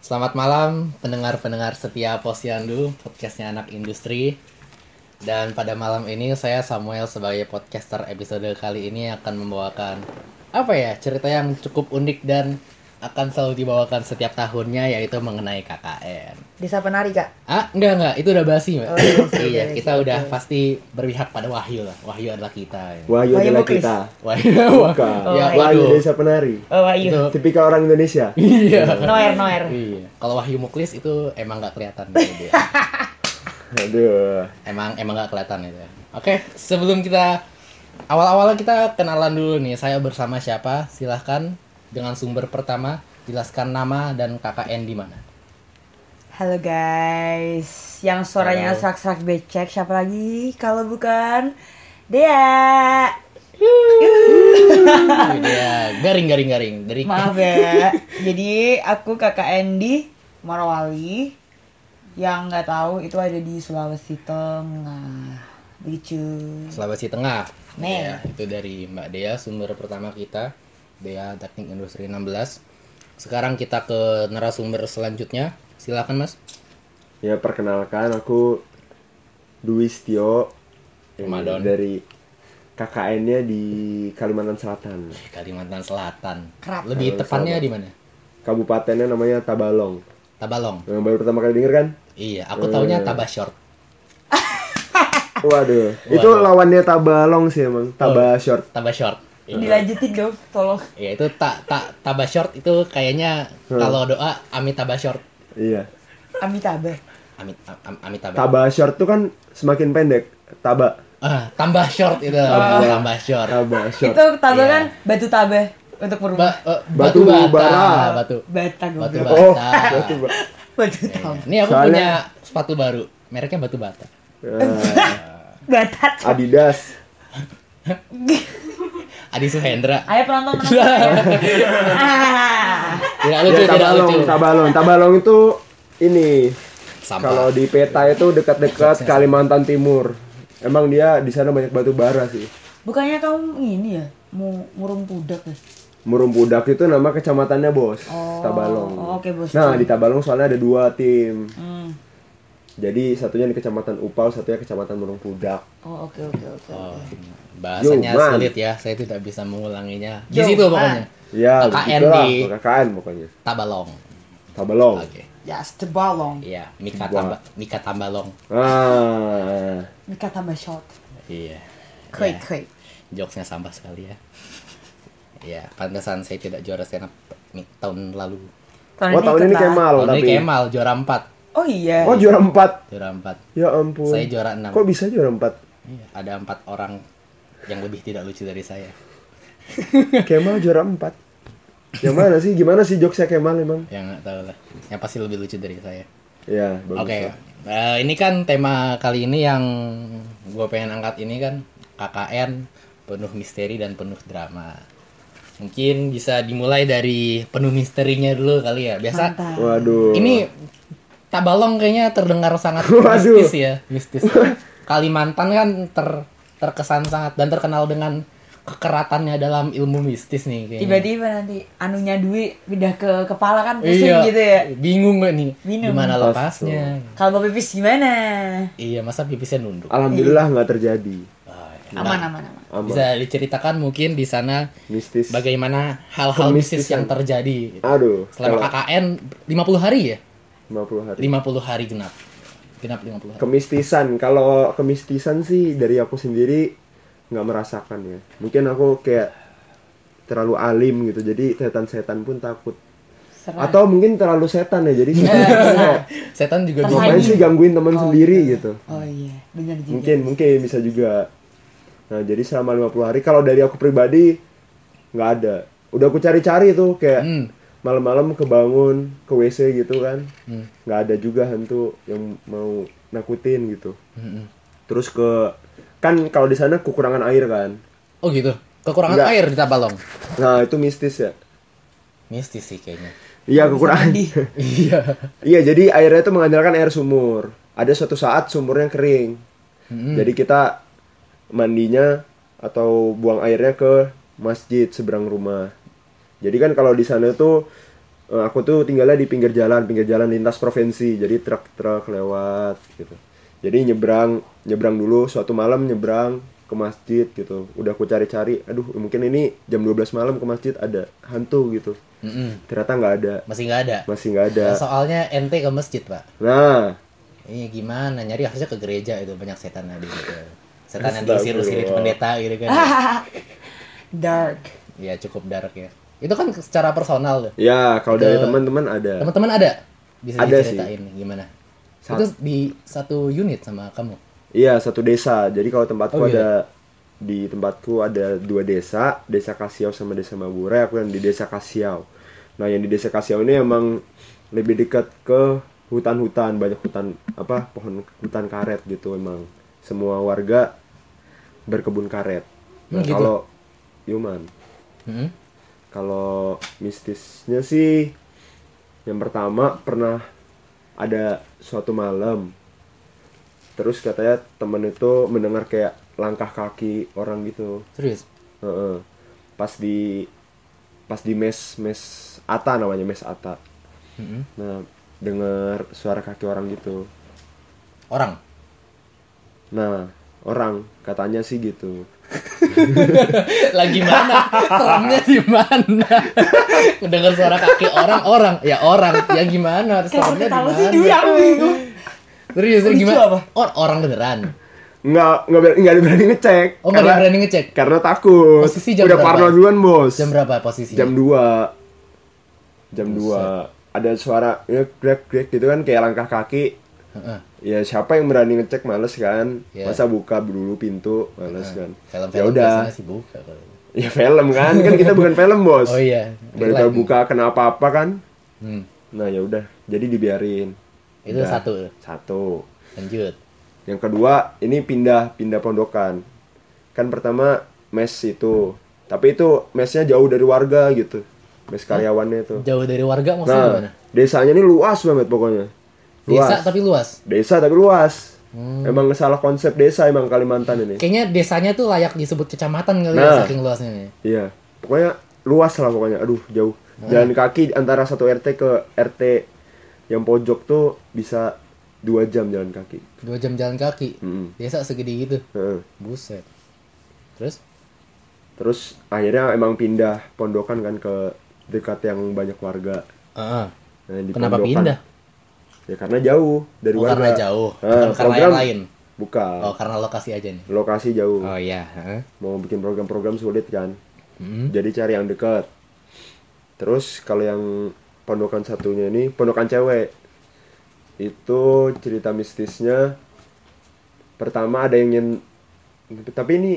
Selamat malam pendengar-pendengar setia Posyandu, podcastnya anak industri. Dan pada malam ini saya Samuel sebagai podcaster episode kali ini akan membawakan apa ya cerita yang cukup unik dan akan selalu dibawakan setiap tahunnya yaitu mengenai KKN. Desa penari kak. Ah enggak enggak itu udah basi mbak. Oh, udah basi, iya udah kita basi, udah oke. pasti berpihak pada Wahyu lah. Wahyu adalah kita. Ya. Wahyu Wahyu adalah Muklis. kita. Wahyu. Bukan. Oh, ya, Wahyu. Wahyu waduh. desa penari. Oh Wahyu. Itu. Tipikal orang Indonesia. Iya. Noer Noer. Iya. Kalau Wahyu Muklis itu emang nggak kelihatan gitu dia. Aduh. Emang emang nggak kelihatan itu. ya. Oke, sebelum kita awal-awalnya kita kenalan dulu nih. Saya bersama siapa? Silahkan dengan sumber pertama jelaskan nama dan KKN di mana. Halo guys. Yang suaranya Halo. serak-serak becek siapa lagi kalau bukan Dea. Iya, garing garing garing. Dari Maaf ya. Jadi aku KKN di Morowali. Yang nggak tahu itu ada di Sulawesi Tengah. Lucu. Sulawesi Tengah. Nih. Ya, itu dari Mbak Dea sumber pertama kita. Dea Teknik Industri 16. Sekarang kita ke narasumber selanjutnya. Silakan Mas. Ya perkenalkan aku Dwi Setio yang Ramadan. dari KKN-nya di Kalimantan Selatan. Eh, Kalimantan Selatan. Kerap. Lebih tepatnya di mana? Kabupatennya namanya Tabalong. Tabalong. Yang baru pertama kali denger kan? Iya, aku taunya Eh. Tabasyort. Waduh. Itu Waduh. lawannya Tabalong sih emang. Taba short. Tabasyort. Iya. Dilanjutin dong, tolong. Ya itu tak tak tabah short itu kayaknya Hmm. kalau doa amit tabah short. Iya. Amitabha. Amit am, amit tabah. Taba short tuh kan semakin pendek. Taba. Ah, tambah short itu Oh. tambah short. Taba short. Itu tabah Iya. kan batu tabah untuk merubah Ba- eh, Batu bata, bara. batu bata batu goblok. bata. Oh, batu ba- Batu Iya. tabah. Ini aku Soalnya- punya sepatu baru, mereknya batu bata. Ah, Iya. Batat. Adidas. Adi Suhendra. Ayo penonton penonton. Tidak Ah. lucu, Ya, tidak tabalong, lucu. tabalong, tabalong itu ini kalau Sampah. di peta itu dekat-dekat Kalimantan Timur. Emang dia di sana banyak batu bara sih. Bukannya kamu ini ya, mau murung pudak ya? Murung Budak itu nama kecamatannya bos, Tabalong. oh, oke, Bos. Nah di Tabalong soalnya ada dua tim. Hmm. Jadi satunya di kecamatan Upau, satunya kecamatan Murung Budak. Oh, oke oke oke. Oh, bahasanya Yo, man. sulit ya, saya tidak bisa mengulanginya. Di Yo, situ man. pokoknya. Ya, Oh, KKN begitulah, di- KKN pokoknya. Tabalong. Tabalong. Oke. Ya, yes, tebalong. Iya, Mika Wah. tambah Mika Tambalong. Ah, Mika tambah shot. Iya. Koi Ya. koi. jokesnya sampah sekali ya. Ya, pantesan saya tidak juara stand up mi- tahun lalu. oh tahun ini ikut lah. Kemal tahun ini tapi. Kemal juara 4, Oh iya. Oh juara empat. juara 4. Ya ampun. Saya juara 6. Kok bisa juara empat? Ada empat orang yang lebih tidak lucu dari saya. Kemal juara 4 Yang mana sih? Gimana sih jokesnya Kemal emang? Yang nggak tahu lah. Yang pasti lebih lucu dari saya. Ya, bagus Oke. lah. eh, ini kan tema kali ini yang gue pengen angkat ini kan KKN penuh misteri dan penuh drama. Mungkin bisa dimulai dari penuh misterinya dulu kali ya. Biasa Mantap. oh. Waduh Ini Tabalong kayaknya terdengar sangat Waduh. mistis ya, mistis. Kalimantan kan ter- terkesan sangat dan terkenal dengan kekeratannya dalam ilmu mistis nih kayaknya. Tiba-tiba nanti anunya Dwi pindah ke kepala kan pusing iya, gitu ya. Bingung gak nih? Bingung. Gimana Pasti. lepasnya? Kalau mau pipis gimana? Iya, masa pipisnya nunduk? Alhamdulillah nggak terjadi Ah, iya. Aman aman aman. Aman. Bisa diceritakan mungkin di sana Mistis bagaimana hal-hal mistis yang Kemistisan. terjadi Aduh selama kalau KKN 50 hari ya? 50 hari 50 hari genap. Genap 50 hari. Kemistisan Kalau kemistisan sih dari aku sendiri nggak merasakan ya Mungkin aku kayak terlalu alim gitu Jadi setan-setan pun takut Serah. Atau mungkin terlalu setan ya Jadi setan kayak, Setan juga Tersaing. Ngapain sih gangguin teman sendiri gitu Oh iya, benar juga. Mungkin, mungkin bisa juga. Nah, jadi selama 50 hari kalau dari aku pribadi nggak ada. Udah aku cari-cari tuh kayak Hmm. malam-malam kebangun ke WC gitu kan. Hmm. Nggak ada juga hantu yang mau nakutin gitu. Mm-mm. Terus ke kan kalau di sana kekurangan air kan. Oh gitu. Kekurangan Enggak. air di Tabalong. Nah, itu mistis ya. Mistis sih kayaknya. Iya, kekurangan. mandi. Iya. Iya, jadi airnya itu mengandalkan air sumur. Ada suatu saat sumurnya kering. Jadi kita mandinya atau buang airnya ke masjid seberang rumah. Jadi kan kalau di sana tuh eh, aku tuh tinggalnya di pinggir jalan, pinggir jalan lintas provinsi. Jadi truk-truk lewat gitu. Jadi nyebrang, nyebrang dulu suatu malam nyebrang ke masjid gitu. Udah aku cari-cari, aduh mungkin ini jam 12 malam ke masjid ada hantu gitu. Mm-mm. Ternyata nggak ada, Masih nggak ada. masih nggak ada. Nah, soalnya ente ke masjid pak. Nah, Iya gimana nyari harusnya ke gereja itu banyak setan tadi gitu. Setan yang Astagfirullah. diusir-usirin pendeta gitu Ah. kan. Dark. Ya cukup dark ya. Itu kan secara personal tuh. ya kalau dari Ke- teman-teman ada. Teman-teman ada? Bisa Iya. Ada diceritain gimana? Sat- Itu di satu unit sama kamu. Iya satu desa. Jadi kalau tempatku Oh, iya. ada di tempatku ada dua desa, desa Kasiau sama desa Mabura. Aku yang di desa Kasiau. Nah yang di desa Kasiau ini emang lebih dekat ke hutan-hutan, banyak hutan apa pohon hutan karet gitu emang. Semua warga berkebun karet. Nah, Hmm, gitu. Kalau Yuman, Mm-mm. kalau mistisnya sih yang pertama pernah ada suatu malam terus katanya temen itu mendengar kayak langkah kaki orang gitu Serius? Heeh. pas di pas di mes mes ata namanya mes ata Mm-mm. nah dengar suara kaki orang gitu Orang? nah orang katanya sih gitu Lagi mana? Seremnya di mana? Mendengar suara kaki orang, orang. Ya orang. Ya gimana? Kalau Seremnya di ketawa mana? sih dulu aku bingung. Serius, serius, Lucu gimana? apa? Or- orang beneran. nggak nggak ber- nggak ada berani ngecek Oh, nggak ada yang berani ngecek. karena takut Posisi jam udah berapa? parno duluan bos Jam berapa posisinya? Iya. jam 2 jam 2 ada suara ya grek grek gitu kan kayak langkah kaki Heeh. ya siapa yang berani ngecek males kan Iya. Ah, masa buka dulu pintu males kan ya Film-film udah biasanya sih buka kalau. ya film kan kan kita bukan film bos Oh iya. Relate Baru tahu nih. buka kenapa apa kan Hmm. nah ya udah jadi dibiarin Itu Udah. satu. satu Lanjut. yang kedua ini pindah pindah pondokan kan pertama mes itu tapi itu mesnya jauh dari warga gitu mes karyawannya itu Jauh dari warga maksudnya Nah, gimana? desanya ini luas banget pokoknya. Luas. Desa tapi Hmm. luas. Desa tapi luas. Emang salah konsep desa emang Kalimantan ini. Kayaknya desanya tuh layak disebut kecamatan kali ya Nah. saking luasnya nih. Iya. Pokoknya luas lah pokoknya. Aduh, jauh. Nah. Jalan kaki antara satu RT ke RT yang pojok tuh bisa dua jam jalan kaki. Dua jam jalan kaki. Mm-mm. Desa segede gitu. Heeh. Buset. Terus? Terus akhirnya emang pindah pondokan kan ke dekat yang banyak warga. Heeh. Nah, di Kenapa pondokan- pindah? Ya karena jauh dari Oh, warga. karena jauh. Nah, Bukan karena yang program- lain. Bukan. Oh, karena lokasi aja nih. Lokasi jauh. Oh iya, Hmm. heeh. Mau bikin program-program sulit kan. Mm-mm. Jadi cari yang dekat. Terus kalau yang pondokan satunya ini pondokan cewek. Itu cerita mistisnya pertama ada yang nyen tapi ini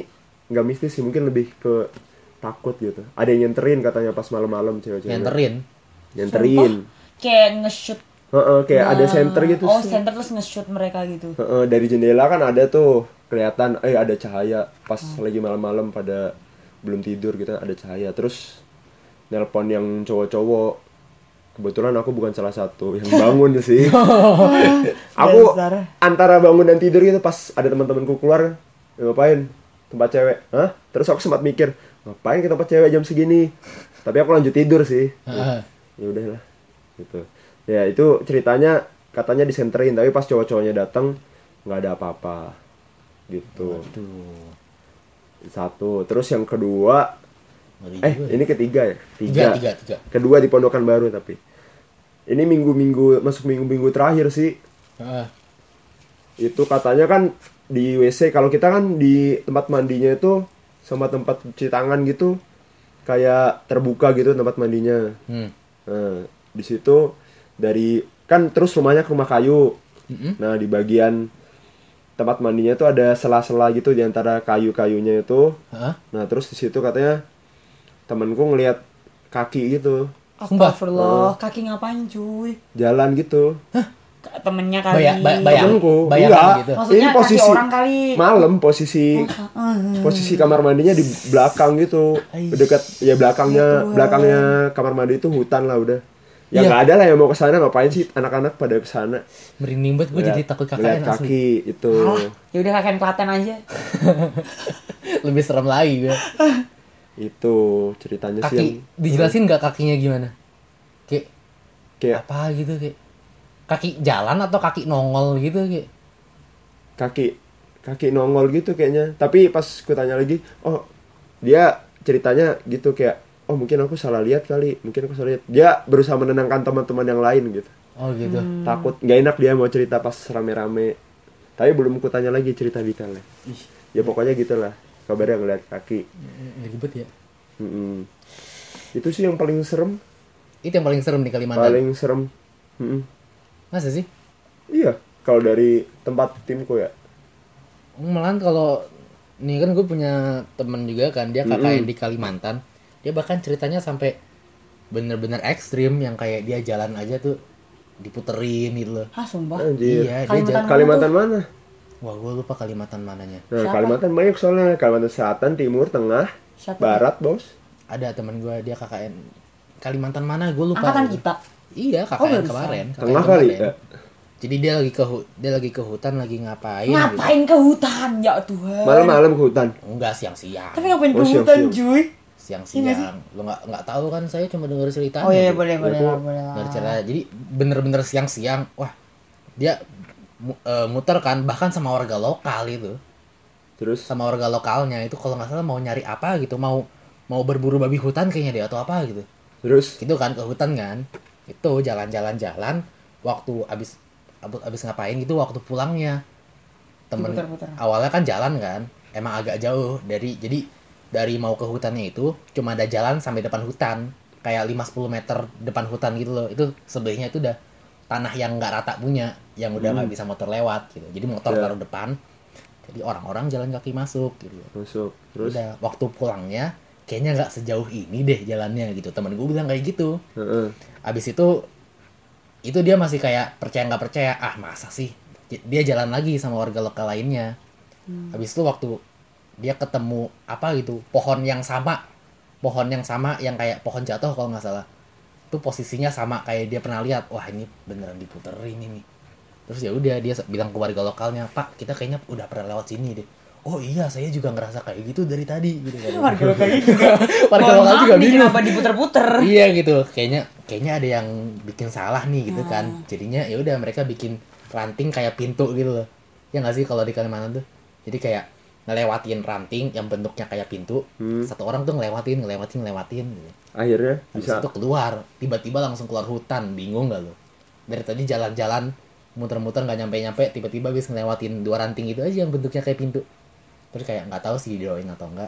nggak mistis sih mungkin lebih ke takut gitu. Ada yang nyenterin katanya pas malam-malam cewek-cewek. Nyenterin. Nyenterin. Kayak nge-shoot. Heeh, kayak ada eh, center gitu. Oh, sih. center terus nge-shoot mereka gitu. Heeh, dari jendela kan ada tuh kelihatan eh ada cahaya pas lagi malam-malam pada belum tidur gitu ada cahaya terus nelpon yang cowok-cowok kebetulan aku bukan salah satu yang bangun sih aku Dasar. antara bangun dan tidur gitu pas ada teman-temanku keluar "Eh, ngapain tempat cewek Hah? terus aku sempat mikir ngapain ke tempat cewek jam segini tapi aku lanjut tidur sih Heeh. ya udahlah gitu ya itu ceritanya katanya disenterin tapi pas cowok-cowoknya datang nggak ada apa-apa gitu Tuh. satu terus yang kedua Ngeri eh juga. ini ketiga ya Tiga, tiga, tiga. kedua di pondokan baru tapi ini minggu-minggu masuk minggu-minggu terakhir sih Heeh. itu katanya kan di WC kalau kita kan di tempat mandinya itu sama tempat cuci tangan gitu kayak terbuka gitu tempat mandinya Hmm. Nah, di situ dari kan terus rumahnya ke rumah kayu. Mm-mm. Nah, di bagian tempat mandinya itu ada sela-sela gitu di antara kayu-kayunya itu. Heeh. Nah, terus di situ katanya temanku ngelihat kaki gitu, Sumpah. Oh. Astagfirullah, kaki ngapain cuy? jalan gitu. K- Temennya kali. Baya- ba- bayang- Temanku. bayangan Enggak. gitu. Maksudnya kaki orang kali. malam posisi Oh, posisi kamar mandinya di belakang gitu. Dekat ya belakangnya belakangnya kamar mandi itu hutan lah udah. Ya Iya. nggak ada lah yang mau ke sana ngapain sih anak-anak pada ke sana. Merinding banget gue jadi takut Ngeliat KKN asli. kaki gitu. itu Ah, ya udah kakek Klaten aja. Lebih serem lagi gue. itu ceritanya sih yang Kaki dijelasin nggak kakinya gimana? Kayak kayak apa gitu kayak kaki jalan atau kaki nongol gitu kayak kaki kaki nongol gitu kayaknya tapi pas ku tanya lagi oh dia ceritanya gitu kayak oh mungkin aku salah lihat kali mungkin aku salah lihat dia berusaha menenangkan teman-teman yang lain gitu oh gitu takut nggak enak dia mau cerita pas rame-rame tapi belum ku tanya lagi cerita detailnya ya pokoknya gitulah kabarnya ngeliat kaki ribet ya Mm-mm. itu sih yang paling serem itu yang paling serem di Kalimantan paling serem Mm-mm. masa sih iya kalau dari tempat timku ya Malahan kalau nih kan gue punya temen juga kan dia kakaknya di Kalimantan dia bahkan ceritanya sampai bener-bener ekstrim yang kayak dia jalan aja tuh diputerin gitu loh Hah sumpah? anjir iya dia Kalimantan jalan Kalimantan mana wah gue lupa Kalimantan mananya Nah, Siapa? Kalimantan banyak soalnya Kalimantan Selatan, Timur, Tengah, Siapa? Barat, bos. ada temen gue dia KKN Kalimantan mana gue lupa Angkatan kita. iya Oh, KKN barusan. kemarin KKN Tengah kali. kemarin. Ya. jadi dia lagi ke hu- dia lagi ke hutan lagi ngapain gitu. Ngapain ke hutan ya Tuhan? Malam-malam ke hutan. enggak siang-siang Tapi ngapain ke Oh, siap, hutan siap. cuy? Iya nggak siang-siang lo nggak nggak tahu kan saya cuma denger ceritanya Oh iya gitu. boleh boleh Itu lah, boleh lah. Dari cerita jadi bener-bener siang-siang wah dia mu- eh, muter kan bahkan sama warga lokal itu Terus sama warga lokalnya itu kalau nggak salah mau nyari apa gitu mau mau berburu babi hutan kayaknya dia atau apa gitu terus gitu kan ke hutan kan itu jalan-jalan jalan waktu abis abu- abis ngapain gitu waktu pulangnya temen Diputer-puter. awalnya kan jalan kan emang agak jauh dari jadi dari mau ke hutannya itu cuma ada jalan sampai depan hutan kayak 5-10 meter depan hutan gitu loh itu sebelahnya itu udah tanah yang nggak rata punya yang udah nggak bisa motor lewat gitu jadi motor Ya. taruh depan jadi orang-orang jalan kaki masuk gitu masuk. Terus udah waktu pulangnya kayaknya nggak sejauh ini deh jalannya gitu temen gue bilang kayak gitu heeh. abis itu itu dia masih kayak percaya nggak percaya ah masa sih J- dia jalan lagi sama warga lokal lainnya Hmm. abis itu waktu dia ketemu apa gitu pohon yang sama pohon yang sama yang kayak pohon jatuh kalau nggak salah itu posisinya sama kayak dia pernah lihat wah ini beneran diputerin ini terus ya udah dia se- bilang ke warga lokalnya pak kita kayaknya udah pernah lewat sini deh oh iya saya juga ngerasa kayak gitu dari tadi gitu kan. Warga lokal juga. warga Mohon lokal maaf juga nih, bingung Kenapa diputer-puter? iya gitu kayaknya kayaknya ada yang bikin salah nih gitu kan jadinya ya udah mereka bikin ranting kayak pintu gitu loh ya nggak sih kalau di Kalimantan tuh jadi kayak ngelewatin ranting yang bentuknya kayak pintu satu orang tuh ngelewatin ngelewatin ngelewatin gitu. Hmm. akhirnya Habis bisa itu keluar tiba-tiba langsung keluar hutan bingung nggak lo dari tadi jalan-jalan muter-muter nggak nyampe-nyampe tiba-tiba habis ngelewatin dua ranting itu aja yang bentuknya kayak pintu terus kayak nggak tahu sih didoain atau enggak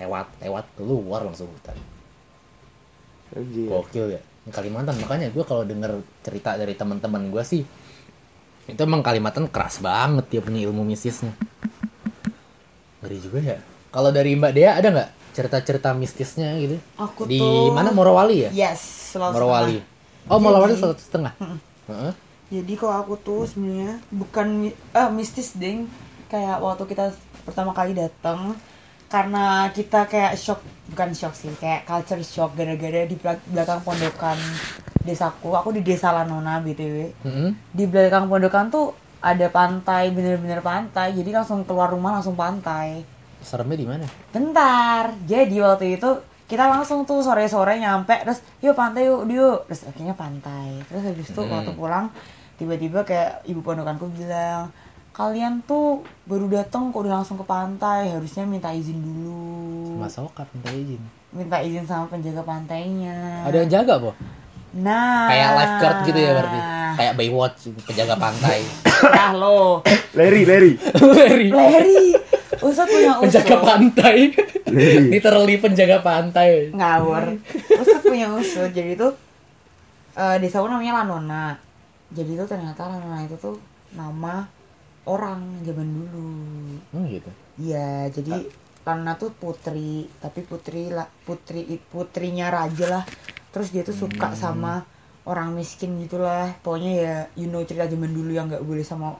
lewat lewat keluar langsung hutan anjir. gokil ya Ini Kalimantan makanya gue kalau denger cerita dari teman-teman gue sih itu emang Kalimantan keras banget dia punya ilmu mistisnya ngeri juga ya kalau dari Mbak Dea ada nggak cerita-cerita mistisnya gitu Aku di tuh- mana Morowali ya Yes, Sulawesi Morowali Tengah. oh Morowali Iya, Jadi- Sulawesi Tengah Heeh. Jadi kalau aku tuh sebenarnya bukan mi- eh, mistis ding kayak waktu kita pertama kali datang karena kita kayak shock bukan shock sih kayak culture shock gara-gara di belak- belakang pondokan desaku aku di desa Lanona btw Heeh. di belakang pondokan tuh ada pantai bener-bener pantai jadi langsung keluar rumah langsung pantai seremnya di mana bentar jadi waktu itu kita langsung tuh sore-sore nyampe terus yuk pantai yuk yuk terus akhirnya pantai terus habis itu waktu pulang tiba-tiba kayak ibu pondokanku bilang kalian tuh baru datang kok udah langsung ke pantai harusnya minta izin dulu Masuk kan minta izin minta izin sama penjaga pantainya ada yang jaga boh nah kayak lifeguard gitu ya berarti Ah. kayak Baywatch gitu, penjaga pantai nah lo Larry, Larry. Larry. Larry usut punya usut penjaga pantai Nih. literally penjaga pantai ngawur usut punya usut jadi tuh eh desa aku namanya Lanona jadi tuh ternyata Lanona itu tuh nama orang zaman dulu hmm, gitu iya jadi Lanona tuh putri tapi putri lah putri putrinya raja lah terus dia tuh suka sama orang miskin gitulah pokoknya ya you know cerita zaman dulu yang nggak boleh sama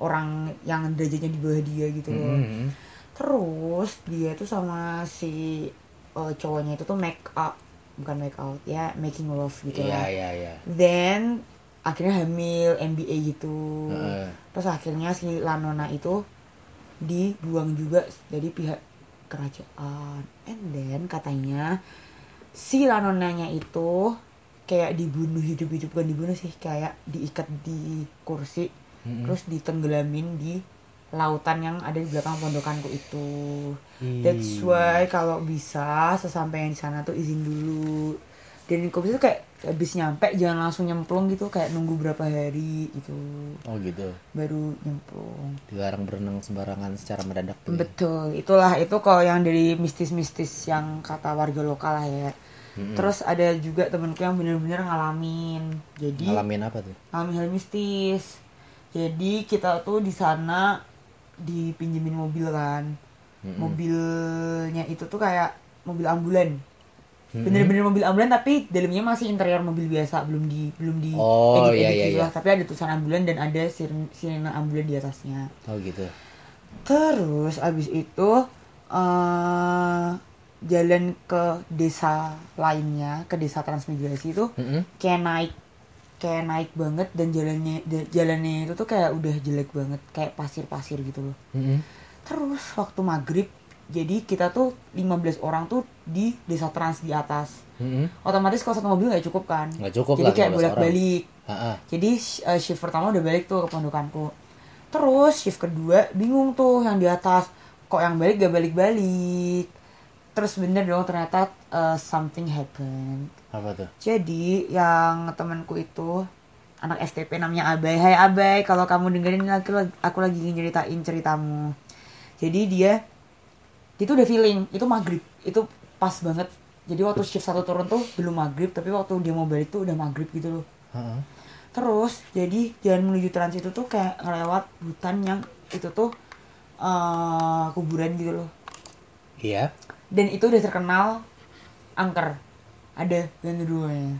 orang yang derajatnya di bawah dia gitu loh Hmm. Terus dia tuh sama si eh, cowoknya itu tuh make up, bukan make out ya, making love iya gitu lah. iya iya Then akhirnya hamil MBA gitu. Heeh. Terus akhirnya si Lanona itu dibuang juga dari pihak kerajaan. And then katanya si Lanonanya itu kayak dibunuh hidup-hidup bukan dibunuh sih kayak diikat di kursi Hmm. terus ditenggelamin di lautan yang ada di belakang pondokanku itu that's why kalau bisa sesampainya di sana tuh izin dulu dan kubis itu kayak habis nyampe jangan langsung nyemplung gitu kayak nunggu berapa hari gitu Oh gitu. baru nyemplung Dilarang berenang sembarangan secara mendadak tuh. ya. Betul, itulah itu kalau yang dari mistis-mistis yang kata warga lokal lah ya. Terus ada juga temenku yang bener-bener ngalamin. Jadi Ngalamin apa tuh? ngalamin hal mistis. Jadi kita tuh di sana dipinjemin mobil kan. Mobilnya itu tuh kayak mobil ambulan. Bener-bener mobil ambulan tapi dalamnya masih interior mobil biasa, belum di belum di Oh, edit-edit iya, iya, gitu iya. lah. Tapi ada tulisan ambulan dan ada siren- sirena ambulan di atasnya. Oh gitu. Terus abis itu eh jalan ke desa lainnya, ke desa transmigrasi itu Mm-mm. kayak naik kayak naik banget dan jalannya da- jalannya itu tuh kayak udah jelek banget, kayak pasir-pasir gitu loh. Mm-mm. Terus waktu maghrib, jadi kita tuh 15 orang tuh di desa trans di atas. Mm-mm. Otomatis kalau satu mobil nggak cukup kan? Nggak cukup jadi lah, kayak 15 orang. bolak-balik. Ha-ha. Jadi sh- eh, shift pertama udah balik tuh ke pondokanku. Terus shift kedua bingung tuh yang di atas. Kok yang balik gak balik-balik. Terus bener dong ternyata eh, something happened. Apa tuh? Jadi yang temanku itu anak STP namanya Abai. Hai Abai, kalau kamu dengerin aku, lagi- aku lagi nyeritain ceritamu. Jadi dia itu udah feeling, itu maghrib, itu pas banget. Jadi waktu shift satu turun tuh belum maghrib, tapi waktu dia mau balik tuh udah maghrib gitu loh. Ha-ha. Terus jadi jalan menuju trans itu tuh kayak ngelewat hutan yang itu tuh eh kuburan gitu loh. Iya. Dan itu udah terkenal angker. Ada ya. dan rumahnya.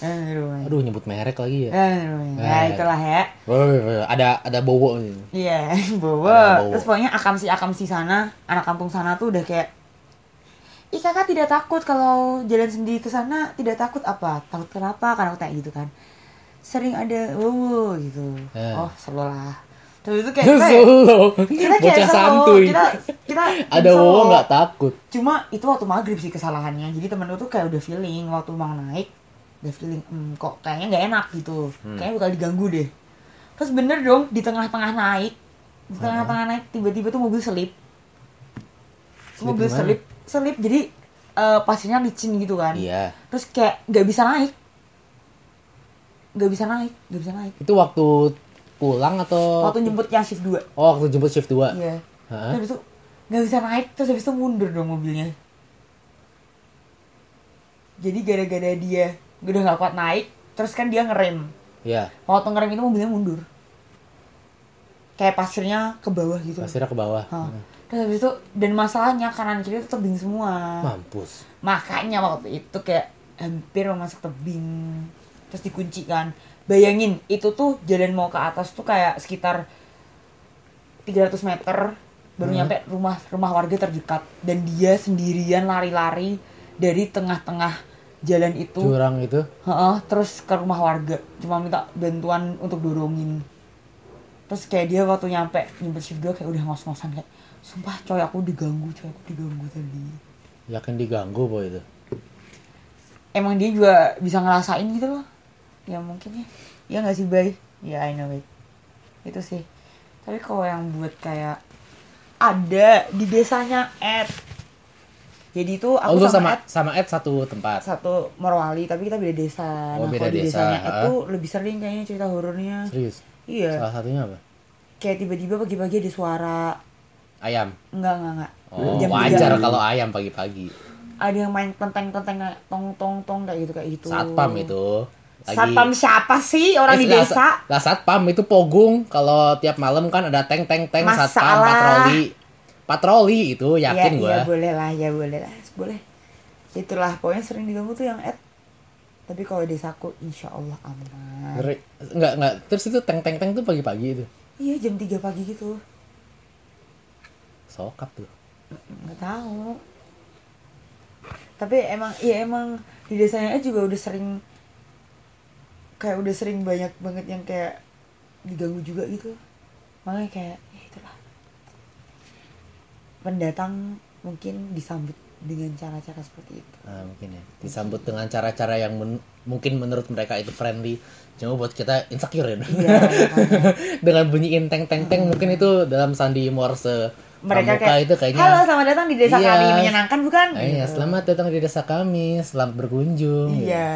Dan rumahnya. Aduh nyebut merek lagi ya. Dan rumahnya. Ya Eh. itulah ya. Woi, woi, woi, ada ada bowo nih. Iya, Ada bawa. bawa. Terus pokoknya akamsi-akamsi sana, anak kampung sana tuh udah kayak Ih kakak tidak takut kalau jalan sendiri ke sana tidak takut apa? Takut kenapa? Karena aku tanya gitu kan. Sering ada wow gitu. Eh. Oh selo lah. Terus itu kayak kita, Solo. kita kayak Bocah selo. santuy. Kita, kita Ada selo. bowo nggak takut. Cuma itu waktu maghrib sih kesalahannya. Jadi temen gue tuh kayak udah feeling waktu mau naik, udah feeling "Hmm, kok kayaknya nggak enak gitu. Hmm. Kayaknya bakal diganggu deh. Terus bener dong di tengah-tengah naik, di Hmm. tengah-tengah naik tiba-tiba tuh mobil selip. Selip mobil gimana? selip, selip jadi eh, pasirnya licin gitu kan. Iya. Terus kayak nggak bisa naik, nggak bisa naik, nggak bisa naik. Itu waktu pulang atau Waktu nyebut yang shift 2 Oh, waktu jemput shift 2. Iya. Hah? Terus itu nggak bisa naik, terus habis itu mundur dong mobilnya. Jadi gara-gara dia udah nggak kuat naik, terus kan dia ngerem. Iya. Waktu ngerem itu mobilnya mundur. Kayak pasirnya ke bawah gitu. Pasirnya ke bawah. Hah. Terus habis itu dan masalahnya kanan kiri itu tebing semua. Mampus. Makanya waktu itu kayak hampir mau masuk tebing. Terus dikunci kan. Bayangin, itu tuh jalan mau ke atas tuh kayak sekitar 300 meter baru nyampe rumah rumah warga terdekat dan dia sendirian lari-lari dari tengah-tengah jalan itu Jurang itu. Heeh, terus ke rumah warga cuma minta bantuan untuk dorongin terus kayak dia waktu nyampe nyampe shift dua kayak udah ngos-ngosan kayak sumpah coy aku diganggu coy aku diganggu tadi Yakin diganggu boy itu. emang dia juga bisa ngerasain gitu loh ya mungkin ya ya nggak sih bay ya I know it itu sih tapi kalau yang buat kayak ada di desanya Ed jadi itu Oh, aku lu sama, sama Ed sama Ed satu tempat. satu Morowali tapi kita beda desa Oh, nah beda kalau di desa, desanya Ed ha. tuh lebih sering kayaknya cerita horornya Serius. iya Salah satunya apa? kayak tiba-tiba pagi-pagi ada suara Ayam. enggak enggak enggak Oh, Jam wajar tiga. kalau ayam pagi-pagi. ada yang main tenteng-tenteng kayak tong tong tong kayak gitu kayak gitu Satpam itu. Lagi... satpam siapa sih orang di Eh, lah, desa Lah satpam itu pogung kalau tiap malam kan ada teng teng teng Masalah. satpam patroli. Patroli itu yakin ya, gua. ya boleh lah ya boleh lah boleh itulah pokoknya sering diganggu tuh yang ad tapi kalau desaku insya Allah aman Ngeri. Enggak enggak terus itu teng teng teng tuh pagi-pagi itu. iya jam 3 pagi gitu Sokap tuh. nggak tahu tapi emang iya emang di desanya Ed juga udah sering kayak udah sering banyak banget yang kayak diganggu juga gitu makanya kayak ya itulah pendatang mungkin disambut dengan cara-cara seperti itu Nah, mungkin ya disambut dengan cara-cara yang men- mungkin menurut mereka itu friendly cuma buat kita insecure ya Iya, makanya. dengan bunyiin teng teng teng mungkin itu dalam sandi morse mereka pramuka kayak itu kayaknya halo selamat datang di desa Iya. kami menyenangkan bukan "Ah, iya, Gitu. selamat datang di desa kami selamat berkunjung iya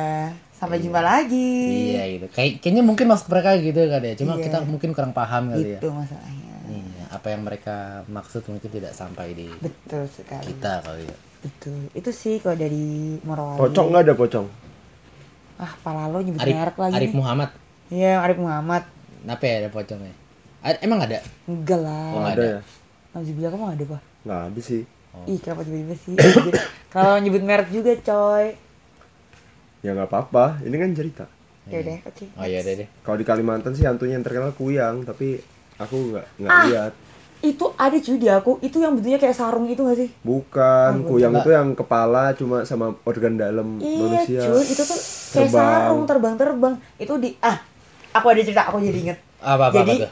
sampai jumpa lagi iya gitu Kayak- kayaknya mungkin maksud mereka gitu kan ya cuma Iya. kita mungkin kurang paham kali ya gitu masalahnya iya apa yang mereka maksud mungkin tidak sampai di betul sekali kita kali ya betul itu sih kalau dari Morowali Pocong nggak ada pocong? ah pala lo nyebut Arif merek lagi Arif nih. Muhammad iya Arif Muhammad kenapa ya ada pocongnya A- emang ada enggak lah Oh, Nggak nggak ada ada. ya? Nauzubillah kamu ada pak Nggak ada sih. Oh. Ih kenapa tiba-tiba sih Kalau nyebut merek juga coy Ya nggak apa-apa. Ini kan cerita. Yaudah Ya oke oh iya ada deh Kalau di Kalimantan sih hantunya yang terkenal kuyang, tapi aku nggak nggak Ah. lihat. Itu ada cuy di aku Itu yang bentuknya kayak sarung itu gak sih? Bukan, kuyang Nggak. itu yang kepala cuma sama organ dalam Iya manusia. cuy Itu tuh kayak Terbang. sarung terbang-terbang Itu di Ah Aku ada cerita aku jadi inget apa apa, apa Jadi tuh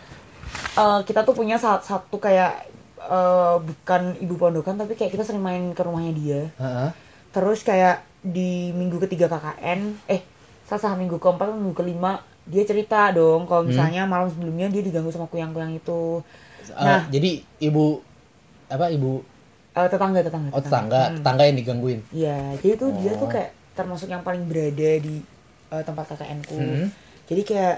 eh, kita tuh punya sa- satu kayak eh, Bukan ibu pondokan tapi kayak kita sering main ke rumahnya dia Heeh. Terus kayak di minggu ketiga KKN, eh salah salah minggu keempat atau minggu kelima dia cerita dong Hmm. kalau misalnya malam sebelumnya dia diganggu sama kuyang-kuyang itu. Eh, Nah. jadi ibu apa ibu Eh, tetangga tetangga. oh tetangga Hmm. tetangga yang digangguin Iya, jadi tuh dia Oh. tuh kayak termasuk yang paling berada di eh, tempat KKN ku. Hmm. Jadi kayak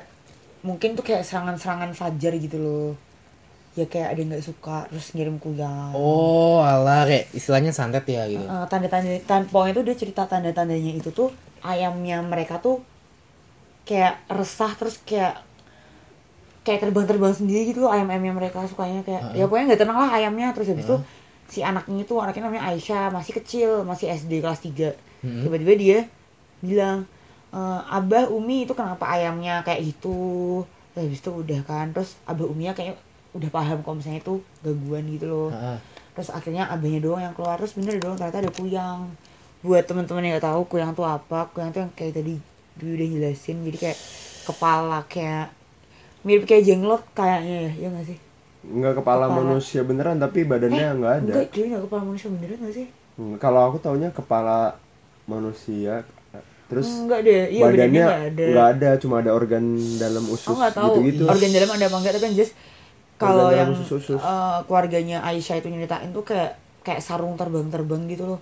mungkin tuh kayak serangan-serangan fajar gitu loh. Ya kayak ada yang nggak suka terus ngirim kuyang. oh alah kayak istilahnya santet ya gitu Eh, tanda-tanda tan- pokoknya tuh dia cerita tanda-tandanya itu tuh ayamnya mereka tuh kayak resah terus kayak kayak terbang-terbang sendiri gitu loh ayam-ayamnya mereka sukanya kayak ya pokoknya nggak tenang lah ayamnya terus habis itu si anaknya itu anaknya namanya Aisyah masih kecil masih SD kelas 3 Mm-mm. tiba-tiba dia bilang e, abah umi itu kenapa ayamnya kayak gitu terus habis itu udah kan terus abah uminya kayaknya udah paham kalau misalnya itu gangguan gitu loh Heeh. terus akhirnya abahnya doang yang keluar terus bener doang ternyata ada kuyang buat teman-teman yang nggak tahu kuyang tuh apa kuyang tuh yang kayak tadi Dwi udah jelasin jadi kayak kepala kayak mirip kayak jenglot kayaknya ya ya nggak sih Nggak kepala, Kepala. manusia beneran, tapi badannya Eh, nggak ada. enggak cuy nggak kepala manusia beneran nggak sih Hmm, Kalau aku taunya kepala manusia, terus enggak deh iya badannya badannya nggak ada nggak ada. cuma ada organ dalam usus aku nggak tahu gitu-gitu. organ dalam ada apa enggak tapi yang jelas kalau dalam yang usus-usus. eh, keluarganya Aisyah itu nyeritain tuh kayak kayak sarung terbang-terbang gitu loh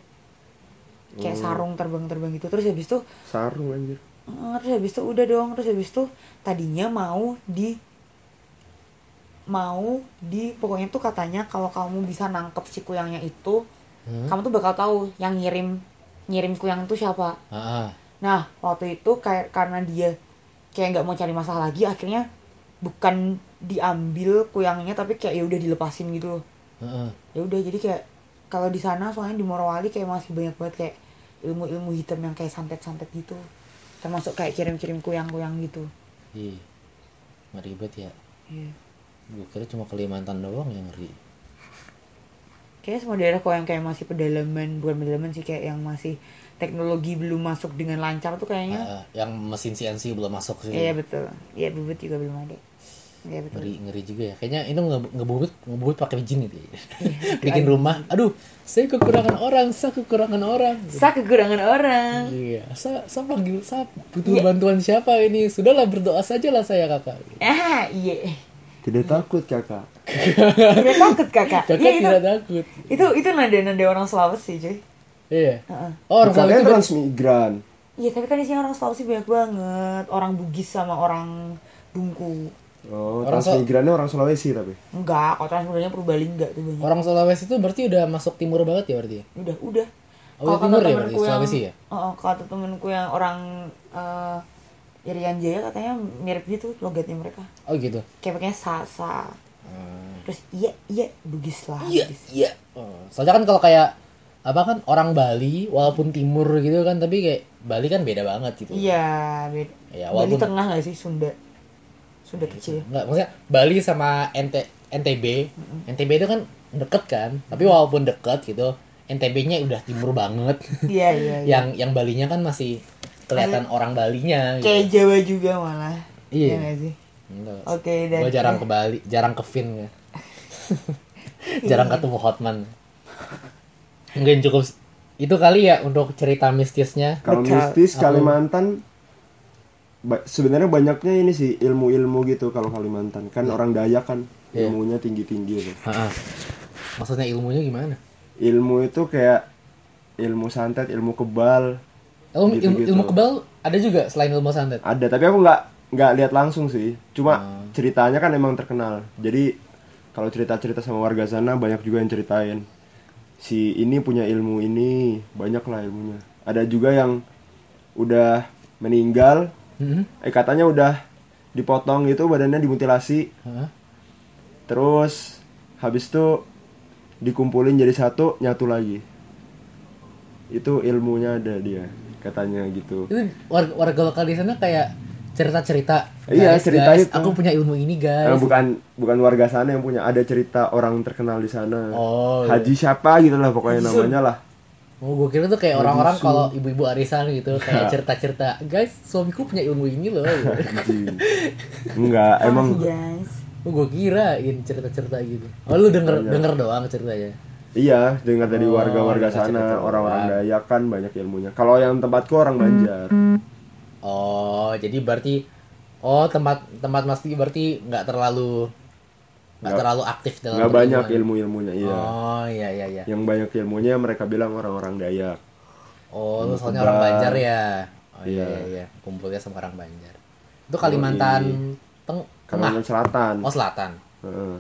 Oh. kayak sarung terbang-terbang gitu terus habis itu Sarung anjir. Eh, terus habis itu udah dong terus habis itu tadinya mau di mau di pokoknya tuh katanya kalau kamu bisa nangkep si kuyangnya itu Hmm. kamu tuh bakal tahu yang ngirim ngirim kuyang itu siapa Heeh. nah waktu itu kayak karena dia kayak nggak mau cari masalah lagi akhirnya bukan diambil kuyangnya tapi kayak ya udah dilepasin gitu loh Heeh. ya udah jadi kayak kalau di sana soalnya di Morowali kayak masih banyak banget kayak ilmu-ilmu hitam yang kayak santet-santet gitu termasuk kayak kirim-kirim kuyang-kuyang gitu Ih, ngeribet ya Iya. gue kira cuma Kalimantan doang yang ngeri kayak semua daerah kok yang kayak masih pedalaman bukan pedalaman sih kayak yang masih teknologi belum masuk dengan lancar tuh kayaknya Heeh, yang mesin CNC belum masuk sih Ah, iya betul iya bubut juga belum ada iya betul Iya. ngeri ngeri juga ya kayaknya itu nge- ngebubut ngebubut pakai jin gitu ya. bikin rumah aduh saya kekurangan orang saya kekurangan orang saya kekurangan orang Iya, saya, saya panggil saya Iya. butuh bantuan siapa ini? Sudahlah berdoa sajalah saya kakak. ah iya Tidak takut kakak. tidak takut kakak Kakak Iya, itu, tidak takut. itu itu nada-nada orang Sulawesi cuy Iya. Heeh. Oh, orang Bali Kalian itu transmigran. Iya tapi kan isinya orang Sulawesi banyak banget Orang Bugis sama orang Bungku Oh, Orang Sul- transmigrannya orang Sulawesi tapi. Enggak, kalau transmigrannya Purbalingga tuh banyak orang Sulawesi itu berarti udah masuk timur banget ya berarti. ya? Udah, udah Oh, Kalau kata timur ya temenku berarti, yang- Sulawesi ya? Oh, kalau kata temenku yang orang eh, Irian Jaya katanya mirip gitu logatnya mereka Oh gitu. Kayak pakainya sasa Hmm. Terus iya, iya, Bugis lah Iya, Bugis. iya. Oh, Soalnya kan kalau kayak apa kan orang Bali walaupun timur gitu kan tapi kayak Bali kan beda banget gitu. Iya, beda Iya, Bali walaupun- tengah gak sih Sunda? Sunda kecil Enggak, maksudnya Bali sama NT, NTB. NTB itu kan deket kan, tapi walaupun deket gitu, NTB-nya udah timur banget. Iya, iya, iya yang yang Balinya kan masih kelihatan orang Balinya Kayak gitu. Jawa juga malah Iya. nggak sih? Enggak. Oke, dan Gua jarang ke Bali, jarang ke Vin ya. jarang ketemu Hotman. Mungkin cukup s- itu kali ya untuk cerita mistisnya. Kalau Betul. mistis Apa? Kalimantan ba- sebenarnya banyaknya ini sih ilmu-ilmu gitu kalau Kalimantan. Kan orang Dayak kan Iya. ilmunya tinggi-tinggi gitu. Ha-ha. Maksudnya ilmunya gimana? Ilmu itu kayak ilmu santet, ilmu kebal Ilmu, Gitu-gitu. Oh, ilmu, ilmu kebal ada juga selain ilmu santet. ada, tapi aku nggak nggak lihat langsung sih. Cuma ceritanya kan emang terkenal. Jadi kalau cerita-cerita sama warga sana banyak juga yang ceritain. Si ini punya ilmu ini, banyak lah ilmunya. Ada juga yang udah meninggal Hmm? eh katanya udah dipotong gitu badannya dimutilasi Ha-ha. terus habis itu dikumpulin jadi satu nyatu lagi itu ilmunya ada dia katanya gitu Itu warga, warga lokal di sana kayak cerita-cerita. Iya, Guys, cerita guys, itu. Aku punya ilmu ini guys. Eh, bukan bukan warga sana yang punya ada cerita orang terkenal di sana Oh, iya. haji siapa gitu lah pokoknya namanya lah Oh, gue kira tuh kayak orang-orang kalau ibu-ibu arisan gitu kayak cerita-cerita, guys, suamiku punya ilmu ini loh. Haji. enggak emang Makasih, guys oh, gue kirain cerita-cerita gitu. Oh, lu denger denger doang ceritanya. iya dengar Oh, dari warga-warga dengar cerita sana orang-orang orang. Dayak kan banyak ilmunya kalau yang tempatku Hmm. orang Banjar Iya, Oh, jadi berarti oh tempat tempat Mas Pi berarti nggak terlalu nggak terlalu aktif dalam nggak berilmuan. banyak ilmu-ilmunya iya Oh, iya iya iya. yang banyak ilmunya mereka bilang orang-orang Dayak. Oh, lu Ilmu soalnya kebal. orang Banjar ya. Oh iya Iya. iya iya, kumpulnya sama orang Banjar. Itu Kalimantan Teng Tengah. Kalimantan Selatan. Oh, Selatan. Heeh.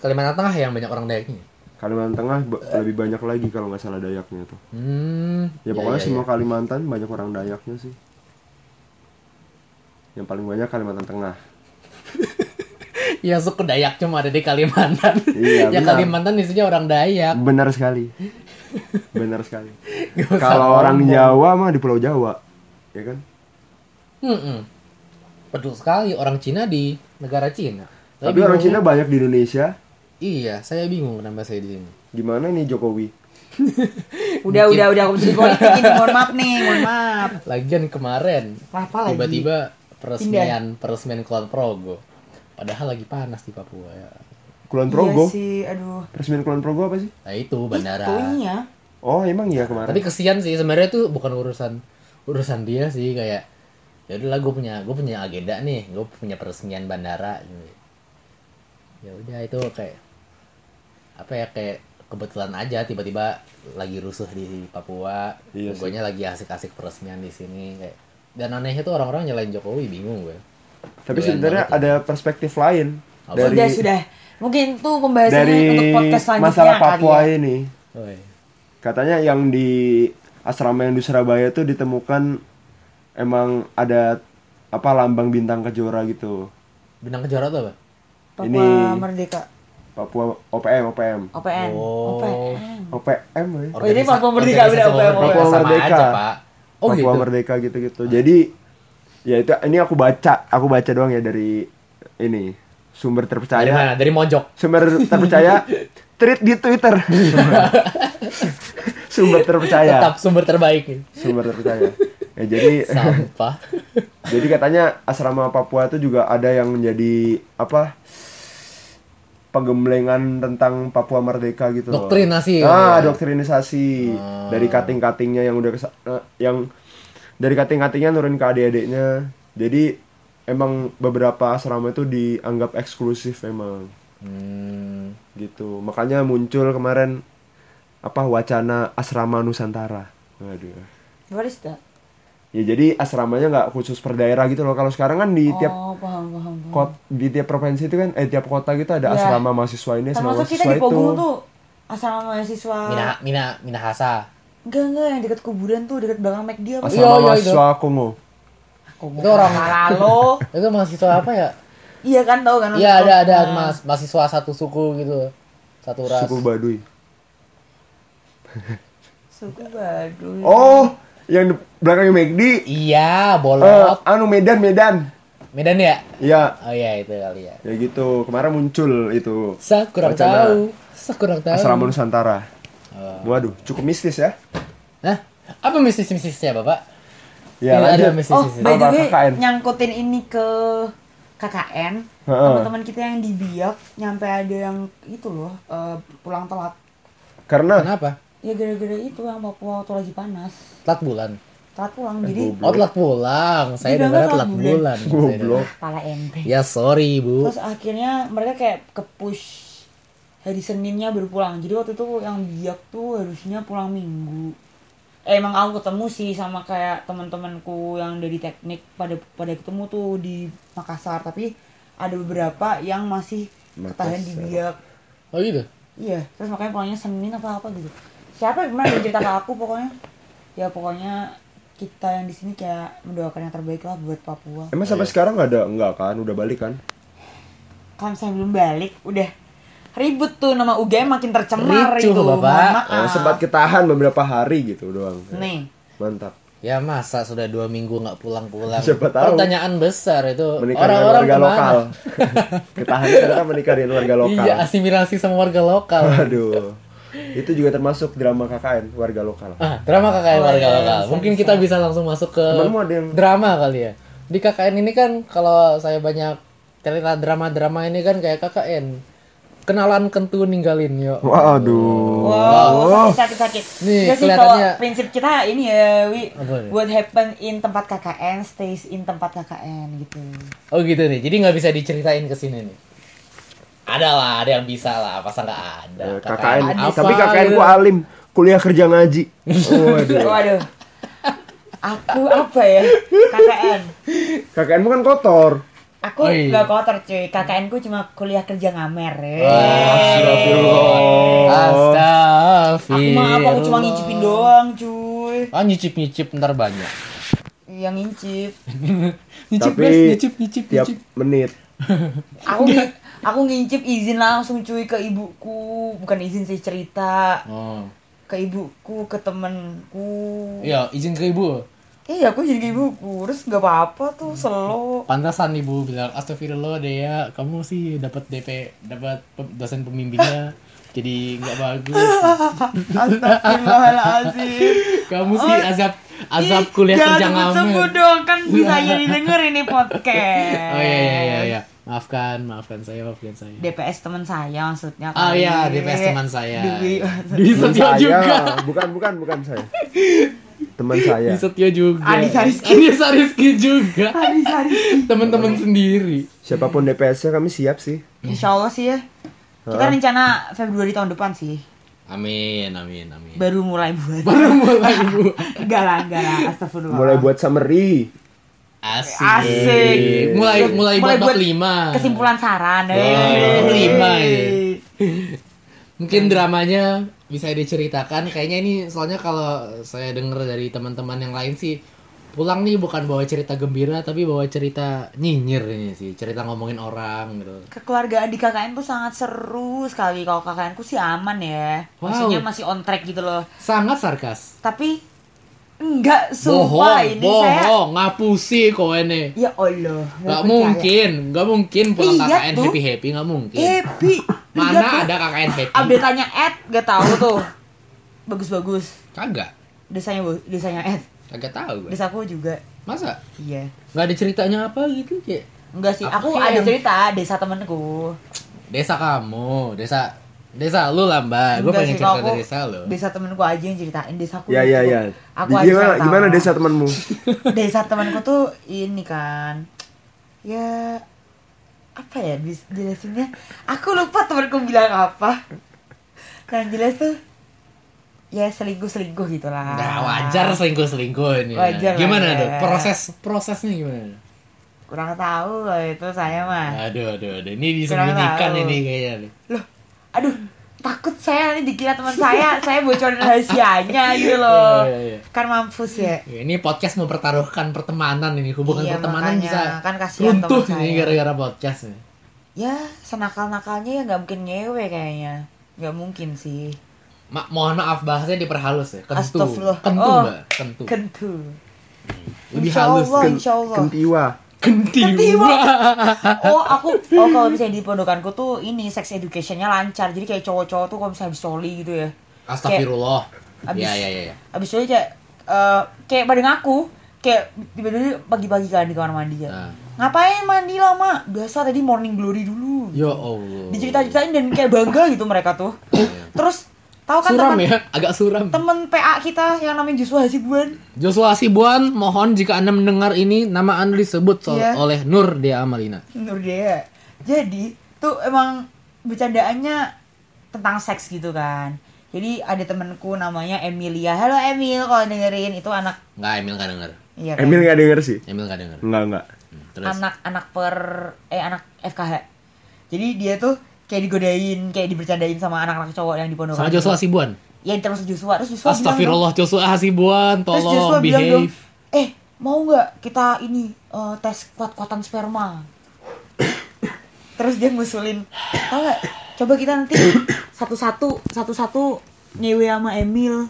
Kalimantan Tengah yang banyak orang Dayaknya. Kalimantan Tengah ba- lebih banyak lagi kalau nggak salah Dayaknya tuh. Hmm. iya, Ya pokoknya iya, semua Kalimantan banyak orang Dayaknya sih. Yang paling banyak Kalimantan Tengah. Ya suku Dayak cuma ada di Kalimantan. Iya, ya benar. Kalimantan isinya orang Dayak. Benar sekali. Benar sekali. Nggak usah Kalau orang ngomong. Jawa mah di Pulau Jawa, ya kan? Mm-mm. Betul sekali orang Cina di negara Cina. Saya Tapi orang bingung. Cina banyak di Indonesia. Iya, saya bingung kenapa saya di sini. Gimana nih Jokowi? udah udah udah kompetisi politik ini mohon maaf nih mohon maaf Lagian kemarin apa lagi tiba-tiba peresmian peresmian Kulon Progo. Padahal lagi panas di Papua ya. Kulon Iya Progo. sih, aduh. Resmian Kulon Progo apa sih? Nah itu bandara. Itunya. Oh, emang iya kemarin. Tapi kesian sih sebenarnya itu bukan urusan urusan dia sih kayak ya udahlah gue punya gue punya agenda nih gue punya peresmian bandara gitu. ya udah itu kayak apa ya kayak kebetulan aja tiba-tiba lagi rusuh di Papua Iya sih. gue lagi asik-asik peresmian di sini kayak dan anehnya tuh orang-orang nyalain Jokowi bingung gue Tapi Doyan sebenarnya banget ya. ada perspektif lain Apa? dari Sudah, sudah. Mungkin tuh pembahasannya dari untuk podcast selanjutnya masalah kali Papua ya. ini. Oi. Katanya yang di asrama yang di Surabaya itu ditemukan emang ada apa lambang bintang kejora gitu. benang kejora tuh apa Papua Ini. Merdeka. Papua OPM OPM. OPN. Oh. OPN. OPM ya. ini Organisa- Papua Merdeka, organisasi beda, Papua beda, Merdeka, Papua sama Merdeka. aja pak oh Papua gitu Merdeka gitu-gitu. Jadi ya itu ini aku baca, aku baca doang ya dari ini sumber dari terpercaya. mana dari Mojok Sumber terpercaya tweet di Twitter. sumber terpercaya. tetap sumber terbaik nih. sumber terpercaya. Ya, jadi sampah jadi katanya asrama Papua itu juga ada yang menjadi apa penggemblengan tentang Papua Merdeka gitu. loh. Doktrinasi. Ah, Ya. doktrinisasi dari kating-katingnya yang udah kesa- eh, yang dari kating-katingnya nurun ke adik-adiknya. Jadi emang beberapa asrama itu dianggap eksklusif emang hmm, gitu. Makanya muncul kemarin apa wacana asrama Nusantara. Waduh. What is that? Ya jadi asramanya nggak khusus per daerah gitu loh. Kalau sekarang kan di tiap oh, paham, paham. paham. kot di tiap provinsi itu kan eh tiap kota gitu ada Ya. asrama mahasiswa ini asrama Termasuk kita mahasiswa di Pogung itu. tuh asrama mahasiswa. Mina Mina Minahasa Enggak, enggak, yang dekat kuburan tuh, dekat belakang McD apa? Iya, Asrama iya, mahasiswa Kongo. Itu orang- Malalo. itu mahasiswa apa ya Iya kan tau kan? iya ada ada mas mahasiswa satu suku gitu satu ras Suku Baduy. Suku Baduy. Oh, yang di belakangnya McD. iya Eh, bolot anu Medan Medan. Medan ya Iya, oh iya itu kali ya ya gitu. Kemarin muncul itu saya kurang Wacana. tahu saya kurang tahu asrama Nusantara. Oh. Waduh, cukup mistis ya. Hah? apa mistis mistisnya bapak Ini Iya, Ya ada lanjut. mistis Oh, mistis by the Apa way, KKN? nyangkutin ini ke KKN, Heeh. teman-teman kita yang di Biak nyampe ada yang itu loh, eh, pulang telat. Karena kenapa ya gara-gara itu yang Papua waktu lagi panas Telat bulan. telat pulang jadi Oh telat pulang. Saya Dibilang dengar telat telat bulan. bulan. Saya Goblok. dengar. pala ente Ya sorry bu. terus akhirnya mereka kayak ke push hari Seninnya baru pulang jadi waktu itu yang biak tuh harusnya pulang minggu eh, emang aku ketemu sih sama kayak teman-temanku yang dari teknik pada pada ketemu tuh di Makassar tapi ada beberapa yang masih ketahan di Makassar. biak Oh gitu. iya terus makanya pulangnya Senin apa apa gitu siapa gimana yang cerita ke aku pokoknya ya pokoknya kita yang di sini kayak mendoakan yang terbaik lah buat Papua Emang sampai Iya. sekarang nggak ada enggak kan? Udah balik kan? kalau misalnya belum balik udah ribut tuh nama UGM makin tercemar Ricuh, itu Bapak. Oh, Mohon maaf. Ah, Eh, sempat ketahan beberapa hari gitu doang. nih Mantap. Ya masa sudah dua minggu nggak pulang-pulang. Siapa tahu. Pertanyaan besar itu. Menikah dengan Eh, Orang-orang warga kemana? lokal. ketahan karena menikah dengan warga lokal. Iya asimilasi sama warga lokal. Aduh. Itu juga termasuk drama KKN warga lokal. Ah, drama KKN Oh, warga iya, lokal. bisa, Mungkin bisa. kita bisa langsung masuk ke Temanmu ada yang- drama kali ya. Di KKN ini kan kalau saya banyak cerita drama-drama ini kan kayak KKN. Kenalan kentu ninggalin yo. Waduh. Wow, sakit sakit. Oh. Nih, ya sih kalau kelihatannya- prinsip kita ini ya, wi, Apa nih? what happen in tempat KKN stays in tempat KKN gitu. Oh gitu nih. Jadi nggak bisa diceritain ke sini nih. Ada lah, ada yang bisa lah. Masa nggak ada? Eh, KKN, apa tapi KKN gitu? ku alim, kuliah kerja ngaji. Waduh. Waduh, aku apa ya KKN? KKN mu kan kotor. Oh, Aku iya. nggak kotor cuy, KKN ku cuma kuliah kerja ngamer. eh. Astagfirullah. Aku Astagfirullah. mah apa, aku Iya. cuma ngicipin doang cuy. Iya, Ah nyicip-nyicip ntar banyak. Yang ngincip. nyicip Tapi guys, nyicip, nyicip, tiap nyicip. menit. aku ngi- aku ngincip izin langsung cuy ke ibuku bukan izin sih cerita Oh. ke ibuku ke temenku Iya, izin ke ibu. iya aku jadi ke ibuku terus nggak apa-apa tuh selo Pantasan ibu bilang astagfirullah deh ya, kamu sih dapat DP, dapat pe- dosen pembimbingnya jadi nggak bagus. Astagfirullahaladzim Kamu sih azab azab Ih, kuliah jangan kerja sebut-sebut ngamen. dong kan bisa jadi denger ini podcast Oh iya iya iya iya. Maafkan, maafkan saya, maafkan saya. DPS teman saya maksudnya Oh kan. kali. iya, DPS teman saya. Iya. Dwi- Di setia juga. bukan bukan bukan saya. Teman saya. Di setia juga. Adi Sariski. Adi Sariski juga. Hari hari Hmm. Teman-teman sendiri. Siapapun DPS-nya kami siap sih. Insya Allah sih ya kita rencana Februari tahun depan sih Amin, amin, amin. baru mulai buat Baru mulai bu. Enggak lah, enggak lah. Astagfirullah. Mulai buat summary. Asik. Asik. Mulai mulai, buat bab lima. Kesimpulan saran. eh. Wah, Hei. lima ya. Iya. Mungkin dramanya bisa diceritakan. Kayaknya ini soalnya kalau saya dengar dari teman-teman yang lain sih pulang nih bukan bawa cerita gembira tapi bawa cerita nyinyir ini sih, cerita ngomongin orang gitu. Kekeluargaan di KKN tuh sangat seru sekali. Kalau KKN ku sih aman ya. Wow. Maksudnya masih on track gitu loh. Sangat sarkas. Tapi enggak sumpah Bohong, ini saya. bohong, ngapusi kok ini. Ya Allah. Gak mungkin, gak mungkin pulang Iya, KKN tuh. happy happy nggak mungkin. Eh, Bi. Mana ada KKN happy? Update-nya Ed gak tahu tuh. Bagus-bagus. Kagak, Desanya bagus- desanya Ed. kagak tahu. gue. Desaku juga. Masa? Iya. Nggak ada ceritanya apa gitu kayak Enggak sih, Apa aku sih ada yang- cerita desa temenku. desa kamu, desa desa lu lah mbak. Gue Enggak Ah, pengen sih, kalau cerita aku- dari desa lu. Desa temenku aja yang ceritain desaku. Ya ya lucu. ya. Aku Di- aja Gimana, yang tahu. gimana desa temanmu? Desa temanku tuh ini kan. Ya apa ya bis- jelasinnya? Aku lupa temanku bilang apa. Dan jelas tuh ya selingkuh-selingkuh gitulah. Nah, wajar selingkuh selingkuh ini. Wajar lah gimana ya. tuh proses prosesnya gimana? Kurang tahu kalau itu saya mah. Aduh aduh aduh, ini disembunyikan Nah. tahu. ini kayaknya. nih. Loh, aduh takut saya nanti dikira teman saya, saya bocorin rahasianya gitu loh. Iya, iya, iya. Kan mampus ya. Ini podcast mempertaruhkan pertemanan ini hubungan Iya, pertemanan makanya. bisa Kan kasihan runtuh ini teman saya. gara-gara podcast nih. ya senakal-nakalnya ya nggak mungkin ngewe kayaknya nggak mungkin sih Ma, mohon maaf bahasanya diperhalus ya. Kentu. Astagfirullah. Kentu, Oh. Mbak. Kentu. kentu Lebih Insya halus. Allah, insya Allah. Kentiwa. Kentiwa. oh aku oh kalau misalnya di pondokanku tuh ini sex educationnya lancar jadi kayak cowok-cowok tuh kalau misalnya habis coli gitu ya Astagfirullah. Abis- Iya, iya, iya. Ya. habis coli kayak eh, kayak pada ngaku kayak tiba-tiba pagi-pagi kan di kamar mandi ya Nah. ngapain mandi lama biasa tadi morning glory dulu Ya Allah. dicerita-ceritain dan kayak bangga gitu mereka tuh terus Tahu kan Iya. Suram teman ya, agak suram. teman PA kita yang namanya Joshua Hasibuan. Joshua Sibuan, mohon jika Anda mendengar ini, nama Anda disebut so- Iya. oleh Nur Dea Amalina. Nur dia. ya. Jadi tuh emang bercandaannya tentang seks gitu kan. Jadi ada temenku namanya Emilia. Halo Emil, kalau dengerin itu anak Nggak, Emil nggak denger. iya kan? Emil nggak denger sih Emil nggak denger. nggak nggak Hmm, Terus, anak-anak per eh anak FKH. Jadi dia tuh kayak digodain, kayak dibercandain sama anak-anak cowok yang di pondokan. sama Joshua Sibuan. Ya termasuk Joshua. Terus Joshua bilang dong- Astagfirullah, Joshua Sibuan, Terus Joshua tolong bilang dong, behave. eh mau nggak kita ini eh, tes kuat-kuatan sperma? Terus dia ngusulin, tau nggak? Coba kita nanti satu-satu, satu-satu nyewe sama Emil.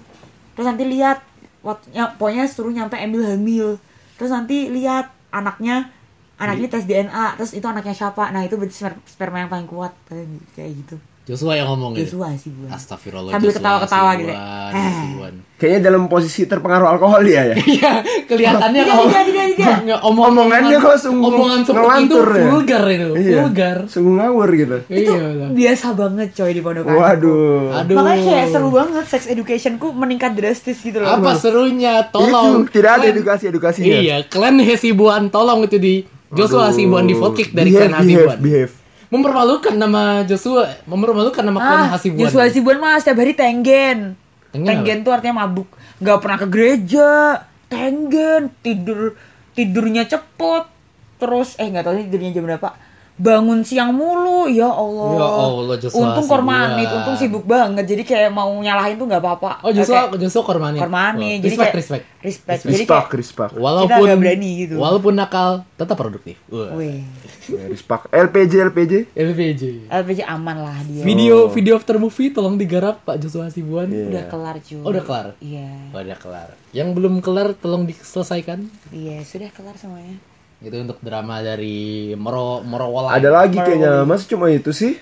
Terus nanti lihat, wat- ya, pokoknya suruh nyampe Emil hamil. Terus nanti lihat anaknya, Iya. anaknya tes DNA. Terus itu anaknya siapa? Nah itu berarti sper- sperma yang paling kuat kayak gitu. Joshua yang ngomong gitu. Joshua sih bukan. Astagfirullah, Sambil Joshua ketawa-ketawa gitu. Sibuan, Eh. Sibuan. kayaknya dalam posisi terpengaruh alkohol dia ya Iya, kelihatannya Tidak, kalau tidak, tidak, tidak. Nggak, omong- Omongannya kok sungguh omongan seperti itu ngelantur ya. vulgar itu, Iya, vulgar. sungguh ngawur gitu Itu Iya, betul. biasa banget coy di pondokan. waduh Aduh. Makanya kayak seru banget sex educationku meningkat drastis gitu loh. Apa serunya? Tolong. itu tidak ada Kalian- edukasi edukasinya Iya, kalian Hasibuan tolong itu di Joshua Hasibuan di kick dari behave, kalian Hasibuan. behave, behave. Mempermalukan nama Joshua, mempermalukan nama klan Ah, Hasibuan. Joshua Hasibuan mah setiap hari tenggen. Tenggen Tenggen tuh artinya mabuk. Gak pernah ke gereja. Tenggen. Tidur tidurnya cepet. Terus eh nggak tahu sih tidurnya jam berapa. Bangun siang mulu, ya Allah. Ya Allah, Joshua untung kormanit, Hasibuan. untung sibuk banget. Jadi kayak mau nyalahin tuh nggak apa-apa. Oh, Joshua Kayak Joshua Kormani. Kormani. Wah, Jadi respect, kayak- respect. respect. Jadi Rispak, kayak- rispak. Walaupun agak berani gitu. Walaupun nakal, tetap produktif. Wah. Wih, Ya, Rispak. LPJ, LPJ. LPJ. LPG aman lah dia. Video video after movie tolong digarap Pak Joshua Hasibuan. Oh. Iya. Udah kelar cuy. Oh, udah kelar? Iya. Oh, Udah kelar. Yang belum kelar tolong diselesaikan. Iya, sudah kelar semuanya. Itu untuk drama dari Moro Morowala. Ada lagi kayaknya, mas cuma itu sih.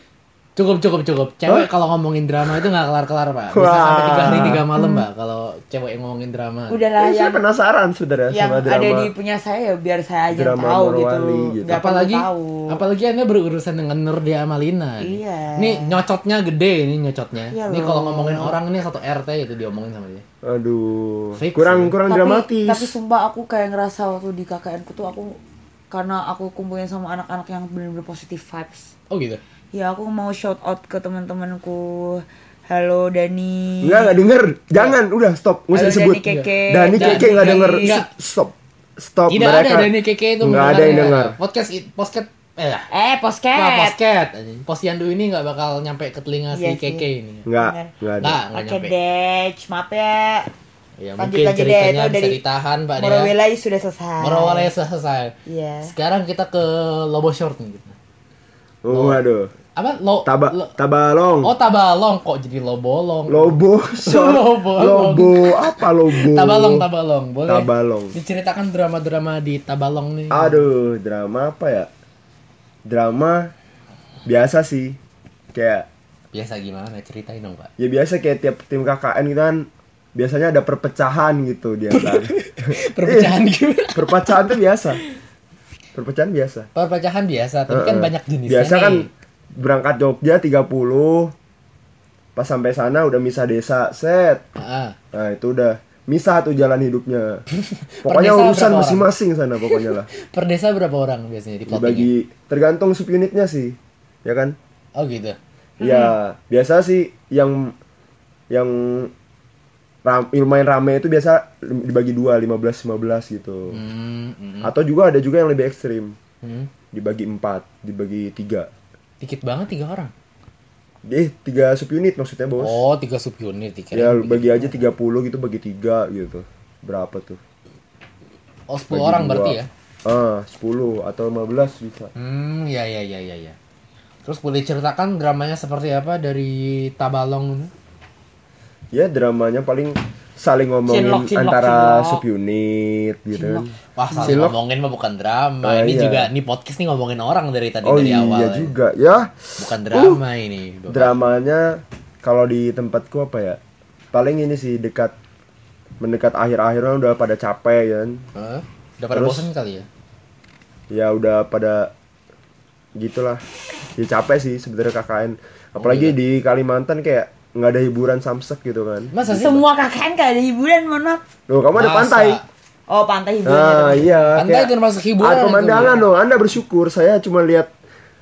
Cukup cukup cukup. Cewek kalau ngomongin drama itu nggak kelar kelar pak. Bisa Wah. sampai tiga hari tiga malam pak. Kalau cewek yang ngomongin drama. Udah lah Eh, saya yang penasaran yang saudara sama ada di drama. punya saya ya biar saya aja yang drama tahu gitu. Morowali gitu. Gak perlu apalagi tahu. apalagi anda berurusan dengan Nur Dea Malina. Iya. Ini nyocotnya gede ini nyocotnya. Iya ini loh. kalau ngomongin orang ini satu RT itu diomongin sama dia. Aduh, Fix, kurang ya. kurang tapi, dramatis. tapi sumpah aku kayak ngerasa waktu di KKN ku tuh aku karena aku kumpulin sama anak-anak yang benar-benar positive vibes. Oh gitu. Ya aku mau shout out ke teman-temanku. Halo Dani. Enggak, enggak denger. Jangan, udah stop. Nggak usah Halo, disebut. Dani Keke. Dani Dani Keke nggak Keke. denger. Nggak. Stop. Stop Tidak mereka. ada Dani Keke itu. Nggak ada yang mendengarnya. denger. Podcast podcast eh Eh, posket. nah, podcast. Posyandu ini nggak bakal nyampe ke telinga si Iya sih. Keke ini. Enggak, enggak ada. Nggak nggak Oke nyampe. deh, maaf ya. Ya, mungkin Lanjut aja deh, ceritanya bisa itu dari ditahan pak Dea. Morowali sudah selesai. Morowale selesai. Iya. Sekarang kita ke Lobo Short nih. Gitu. Oh, aduh. Apa? Lo, Taba lo- tabalong. oh tabalong kok jadi lobolong. Lobo. short. Lobo. Lobo. Apa lobo? Tabalong, tabalong. Boleh. Tabalong. Diceritakan drama-drama di Tabalong nih. Aduh, drama apa ya? Drama biasa sih. Kayak Biasa gimana? Ceritain dong, Pak. ya biasa kayak tiap tim KKN gitu kan biasanya ada perpecahan gitu dia kan. Perpecahan gimana? perpecahan tuh biasa. Perpecahan biasa. Perpecahan biasa, tapi kan Heeh. banyak jenisnya. Biasa kan nih. berangkat Jogja 30 pas sampai sana udah misah desa, set. Heeh. Nah, itu udah misah tuh jalan hidupnya. desa Pokoknya berapa urusan orang? masing-masing sana pokoknya lah. Per desa berapa orang biasanya di plottingnya? Dibagi tergantung subunitnya sih. Ya kan? Oh gitu. Ya, biasa sih yang yang ram, lumayan rame itu biasa dibagi dua, 15 15 gitu. Hmm, hmm, Atau juga ada juga yang lebih ekstrim, hmm. dibagi empat, dibagi tiga. Dikit banget tiga orang. Eh, tiga subunit maksudnya, Bos. Oh, tiga subunit. dikira ya, dibagi- bagi aja 30 gitu, bagi tiga gitu. Berapa tuh? Oh, 10 orang Bagi berarti dua. ya? Ah, 10 atau 15 bisa. Hmm, ya ya ya ya ya. Terus boleh ceritakan dramanya seperti apa dari Tabalong? ini? Ya, dramanya paling saling ngomongin Cinlok, cinlok, antara cinlok. subunit gitu. kan. Wah, salah Cilok. ngomongin mah bukan drama. Ah, ini iya. juga nih podcast nih ngomongin orang dari tadi Oh dari iya awal. ya. juga ya. Bukan drama ini. Bapak. dramanya kalau di tempatku apa ya paling ini sih dekat mendekat akhir-akhirnya udah pada capek ya kan Hah? Udah pada Terus? bosan kali ya? ya udah pada Oh, iya. gitulah ya capek sih sebenarnya KKN apalagi di Kalimantan kayak nggak ada hiburan samsek gitu kan Masa sih? Semua KKN gak ada hiburan, mohon maaf. loh kamu ada Masa? pantai Oh, pantai hiburan. nah ya, iya Pantai kayak- itu termasuk hiburan. ada itu. pemandangan loh anda bersyukur saya cuma lihat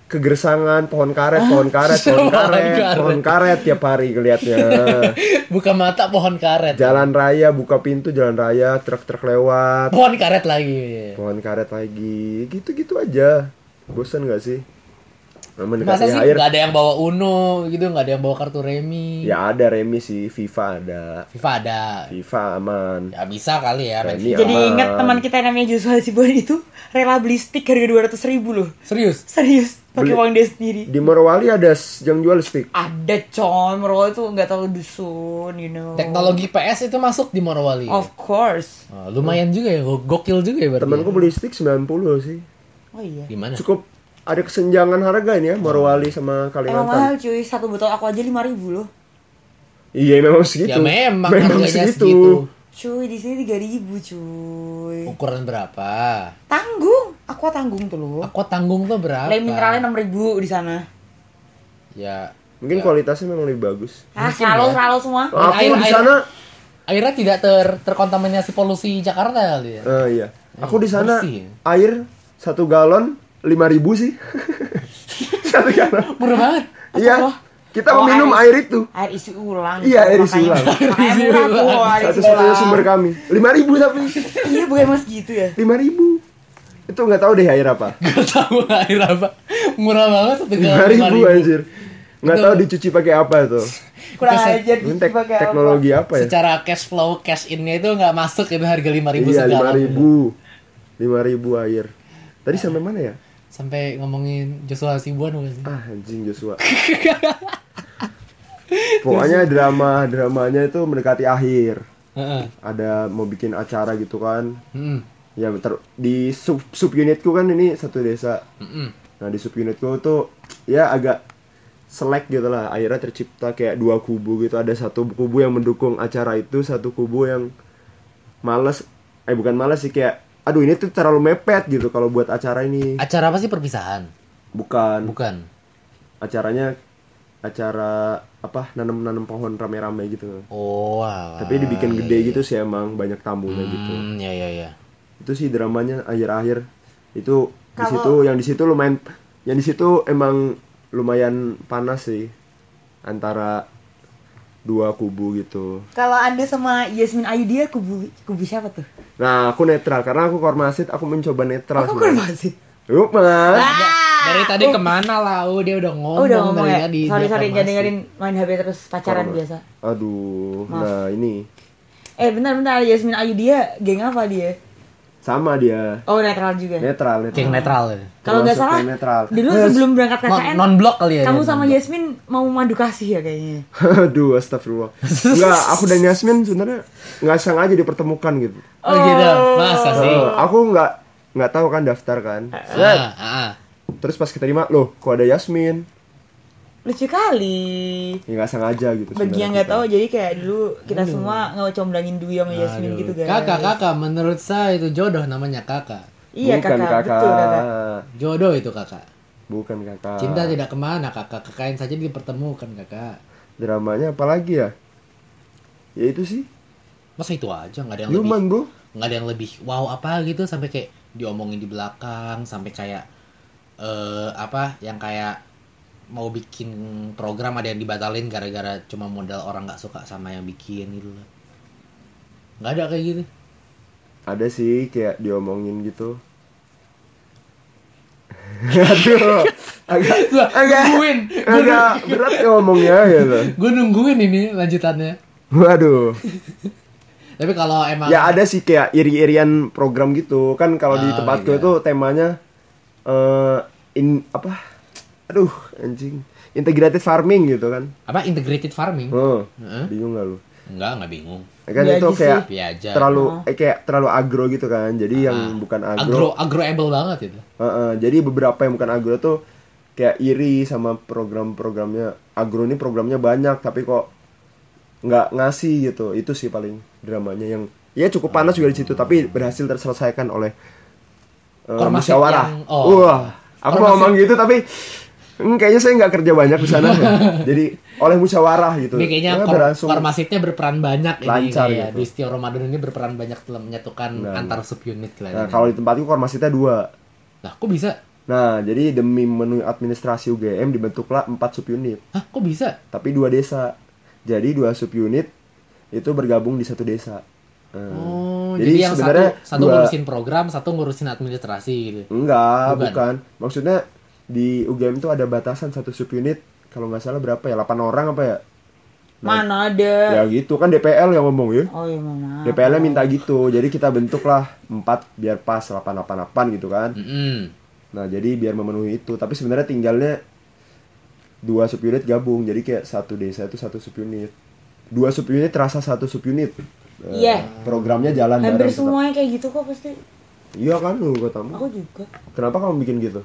kegersangan pohon karet pohon karet pohon Ah, Pohon karet karet. pohon karet tiap hari kelihatnya Buka mata pohon karet. jalan raya buka pintu jalan raya truk-truk lewat Pohon karet lagi. pohon karet lagi gitu-gitu aja bosan nggak sih Nah, Masa mendekati sih air nggak ada yang bawa Uno gitu, nggak ada yang bawa kartu remi. ya ada remi sih FIFA ada FIFA ada. FIFA aman Ya bisa kali ya. main Remi FIFA. Jadi aman. inget teman kita yang namanya Joshua Hasibuan itu rela beli stick harga 200 ribu loh. Serius? Serius, pakai Beli- uang dia sendiri. di Morowali ada s- yang jual stick Ada con, merol itu nggak terlalu dusun, you know. Teknologi PS itu masuk di Morowali. Of course. Oh, lumayan juga ya, go- gokil juga ya berarti. temanku beli stick 90 sih Oh iya. di mana? cukup ada kesenjangan harga ini ya Morowali Emang sama Kalimantan mahal cuy, satu botol aku aja 5 ribu loh. iya memang Ya segitu memang, harganya gitu. segitu. Cuy, di sini 3 ribu cuy. Ukuran berapa? Tanggung, aku tanggung tuh loh. Aku tanggung tuh berapa? Lain mineralnya 6 ribu di sana. Ya. mungkin kualitasnya memang lebih bagus Ah, Mungkin selalu ya. selalu semua. Oh, aku air- di air- sana Airnya tidak ter terkontaminasi polusi Jakarta kali ya. eh, iya aku di sana bersih. ya? air satu galon 5000 sih satu galon Murah banget. iya kita Oh, meminum air- air itu Air isi ulang. Iya, air isi Makanya- ulang. Air Makanya isi murah tuh, ulang. air isi satu-satunya ulang. sumber kami 5000 tapi Iya, bukan mas gitu ya. 5000 itu nggak tahu deh air apa Gak tahu air apa. Murah banget satu galon 5000 5.000. anjir nggak tahu dicuci pakai apa tuh Kurang Kita se- ajar Ini gitu tek- pakai apa. teknologi apa ya Secara cash flow, cash in-nya itu nggak masuk itu harga 5.000 iya segala. 5000 5000 air tadi sampai mana ya Sampai ngomongin Joshua Hasibuan bukan sih? ah anjing Joshua pokoknya drama dramanya itu mendekati akhir Heeh. ada mau bikin acara gitu kan Mm-mm. ya ter- di sub subunitku kan ini satu desa Mm-mm. Nah di subunitku tuh ya agak selek gitu lah Akhirnya tercipta kayak dua kubu gitu Ada satu kubu yang mendukung acara itu Satu kubu yang males Eh bukan males sih kayak Aduh ini tuh terlalu mepet gitu kalau buat acara ini Acara apa sih perpisahan? Bukan Bukan. Acaranya acara apa nanam-nanam pohon rame-rame gitu Oh, alah. Tapi dibikin gede gitu sih emang banyak tamunya gitu Hmm, ya ya ya. itu sih dramanya akhir-akhir itu di Kalau- situ yang di situ lumayan yang di situ emang lumayan panas sih antara dua kubu gitu Kalau Anda sama Yasmin Ayudhya kubu kubu siapa tuh? nah aku netral karena aku kormasit aku mencoba netral Aku sebenarnya. kurang sih. Yuk, Mas. Dari tadi kemana lau dia Ah, udah ngomong. Oh, udah ngomong dari ya. tadi, kan Sorry dia sorry formasi. jangan dengerin main HP terus pacaran Korma- biasa. aduh Maaf. nah ini Eh bentar bentar Yasmin Ayudhya geng apa dia? sama dia Oh netral juga. netral netral Geng netral. Kalau nggak Termasuk salah yang netral. dulu Yes. sebelum berangkat KKN Non blok kali ya. kamu dia, sama non-blok. Yasmin mau madu kasih ya kayaknya. aduh astagfirullah enggak aku dan Yasmin sebenarnya nggak sengaja dipertemukan gitu Oh, gitu. Masa sih? Eh, aku nggak nggak tahu kan daftar kan Ah, ah, ah. terus pas keterima loh kok ada Yasmin Lucu kali. ya nggak sengaja gitu Bagi yang nggak sebenarnya tahu jadi kayak dulu kita semua ngecomblangin Dwi sama Yasmin gitu guys. Kakak, kakak, menurut saya itu jodoh namanya kakak. kita. Iya bukan Nah. kakak, betul kakak. Jodoh itu kakak. bukan kakak Cinta tidak kemana kakak, kekain saja dipertemukan kakak. dramanya apalagi ya ya itu sih Masa itu aja nggak ada yang lebih human bro nggak ada yang lebih wow apa gitu sampai kayak diomongin di belakang sampai kayak eh apa yang kayak mau bikin program ada yang dibatalin gara-gara cuma modal orang nggak suka sama yang bikin gitu loh nggak ada kayak gitu ada sih kayak diomongin gitu aduh agak Lah, agak nungguin. agak berat ya ngomongnya gitu gue nungguin ini lanjutannya waduh tapi kalau emang ya ada sih kayak iri-irian program gitu kan kalau di Ah, tempatku iya. itu temanya eh in apa aduh anjing integrated farming gitu kan apa integrated farming Heeh. Heeh. bingung gak lu nggak nggak bingung kan Iya itu aja Oh. kayak tapi aja Ah, terlalu eh, kayak terlalu agro gitu kan jadi yang bukan agro, agro agroable banget itu Heeh, jadi beberapa yang bukan agro tuh kayak iri sama program-programnya agro ini programnya banyak tapi kok nggak ngasih gitu itu sih paling dramanya yang ya cukup panas juga di situ tapi berhasil terselesaikan oleh eh, Ormas musyawarah yang- oh. wah aku mau Ormas ngomong gitu tapi Hmm, kayaknya saya nggak kerja banyak di sana. ya. Jadi oleh musyawarah gitu. Ini kayaknya Karena kor berlangsung kormasitnya berperan banyak ini lancar kayak gitu. Distio Ramadan ini berperan banyak dalam menyatukan Nah. antar subunit Nah, kelihatannya. kalau di tempatku kormasitnya dua. Lah, kok bisa? Nah, jadi demi memenuhi administrasi UGM dibentuklah empat subunit, Hah, kok bisa? tapi dua desa. Jadi dua subunit itu bergabung di satu desa. Nah, Oh, Jadi jadi, yang sebenarnya satu, satu dua- ngurusin program, satu ngurusin administrasi gitu. Enggak, Bukan. bukan. Maksudnya di UGM tuh ada batasan satu subunit kalau nggak salah berapa ya? 8 orang apa ya? Mana ada? Ya gitu kan DPL yang ngomong ya. Oh iya mana? DPL-nya minta gitu. Jadi kita bentuklah 4 biar pas 888 gitu kan. Mm-mm. Nah, jadi biar memenuhi itu. Tapi sebenarnya tinggalnya dua subunit gabung. Jadi kayak satu desa itu satu subunit. Dua subunit terasa satu subunit. Eh, Iya. Programnya jalan Hampir bareng tetap. semuanya kayak gitu kok pasti. Iya kan lu katamu. Aku juga. Kenapa kamu bikin gitu?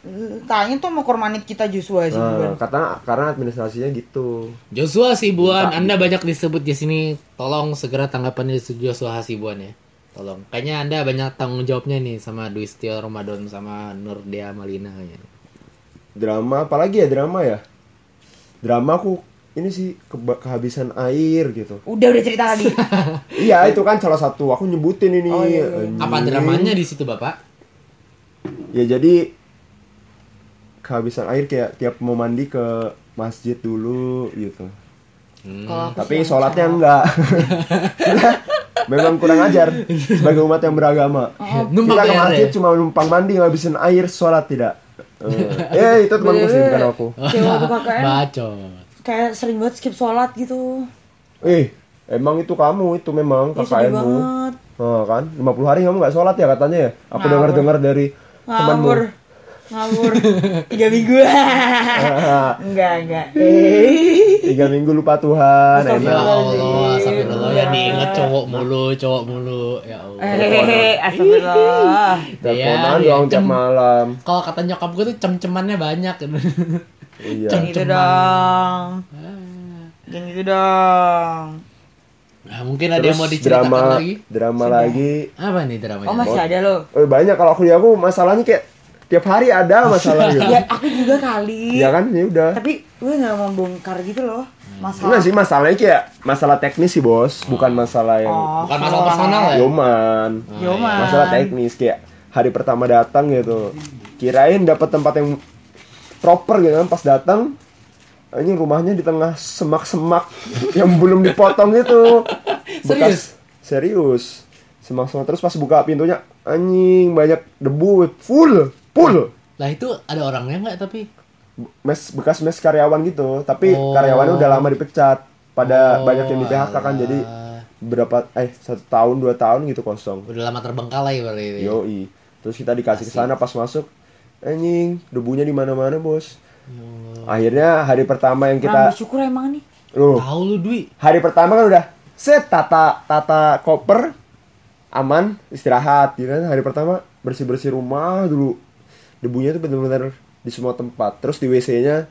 Mm, Tanya tuh mau kormanit kita Joshua Iya, sih Nah, bukan. karena karena administrasinya gitu. Joshua Sibuan, Anda banyak disebut di sini. Tolong segera tanggapan dari Joshua Hasibuan ya. Tolong. Kayaknya Anda banyak tanggung jawabnya nih sama Dwistio Ramadan sama Nurdea Malina ya. kayaknya. drama apalagi ya drama ya drama aku ini sih keba- kehabisan air gitu Udah udah cerita tadi. iya itu kan salah satu aku nyebutin ini Oh, iya, iya. Anjing. Apa dramanya di situ, Bapak? ya jadi kehabisan air kayak tiap mau mandi ke masjid dulu gitu Hmm. Kalau aku tapi sih sholatnya enggak memang kurang ajar sebagai umat yang beragama Oh, Numpang kita ke bayar masjid ya? cuma numpang mandi ngabisin air sholat tidak eh itu temanku sih bukan aku Cewek aku KKN Bacot. kayak sering banget skip sholat gitu. eh emang itu kamu itu memang Iya sedih kakakmu banget. Nah, kan 50 hari kamu nggak sholat ya katanya ya aku Ngawur. dengar dengar dari temanmu Ngawur. Ngawur. Tiga minggu. enggak, enggak. Eh. tiga minggu lupa Tuhan Ya enak Allah, astagfirullah ya Iya. Eh. diinget cowok mulu, cowok mulu. Ya Allah. Hehehe, astagfirullah. teleponan Iya, doang iya. tiap Cem- malam Kalau kata nyokap gue tuh cem-cemannya banyak. Nah, iya Cem- Gitu dong. Yang gitu dong. Nah, mungkin ada terus yang mau diceritakan drama lagi? drama lagi Apa nih dramanya? Oh masih ada loh. oh, banyak kalau aku aku masalahnya kayak tiap hari ada masalah gitu Ya aku juga kali. ya kan ya udah Tapi gue nggak mau bongkar gitu loh masalah. enggak Hmm. sih masalahnya kayak masalah teknis sih bos bukan masalah yang Oh, Bukan masalah personal ya? Yoman. Yoman. Masalah teknis kayak hari pertama datang gitu. Kirain dapat tempat yang proper gitu kan pas datang ini rumahnya di tengah semak-semak yang belum dipotong gitu. Serius? Serius. Semak-semak terus pas buka pintunya anjing banyak debu full full Lah itu ada orangnya nggak tapi? mes bekas mes karyawan gitu tapi Oh. karyawannya udah lama dipecat pada Oh, banyak yang di PHK kan jadi alah. berapa eh satu tahun dua tahun gitu kosong Udah lama terbengkalai berarti itu. ya? Yoi. Terus kita dikasih ke sana pas masuk, anjing, debunya di mana-mana, Bos. Ya Allah. Akhirnya hari pertama yang Kita... kita bersyukur emang nih. loh, Tahu lu Dwi. hari pertama kan udah set tata tata koper aman istirahat gitu kan. Hari pertama bersih-bersih rumah dulu. Debunya tuh bener-bener di semua tempat. Terus di WC-nya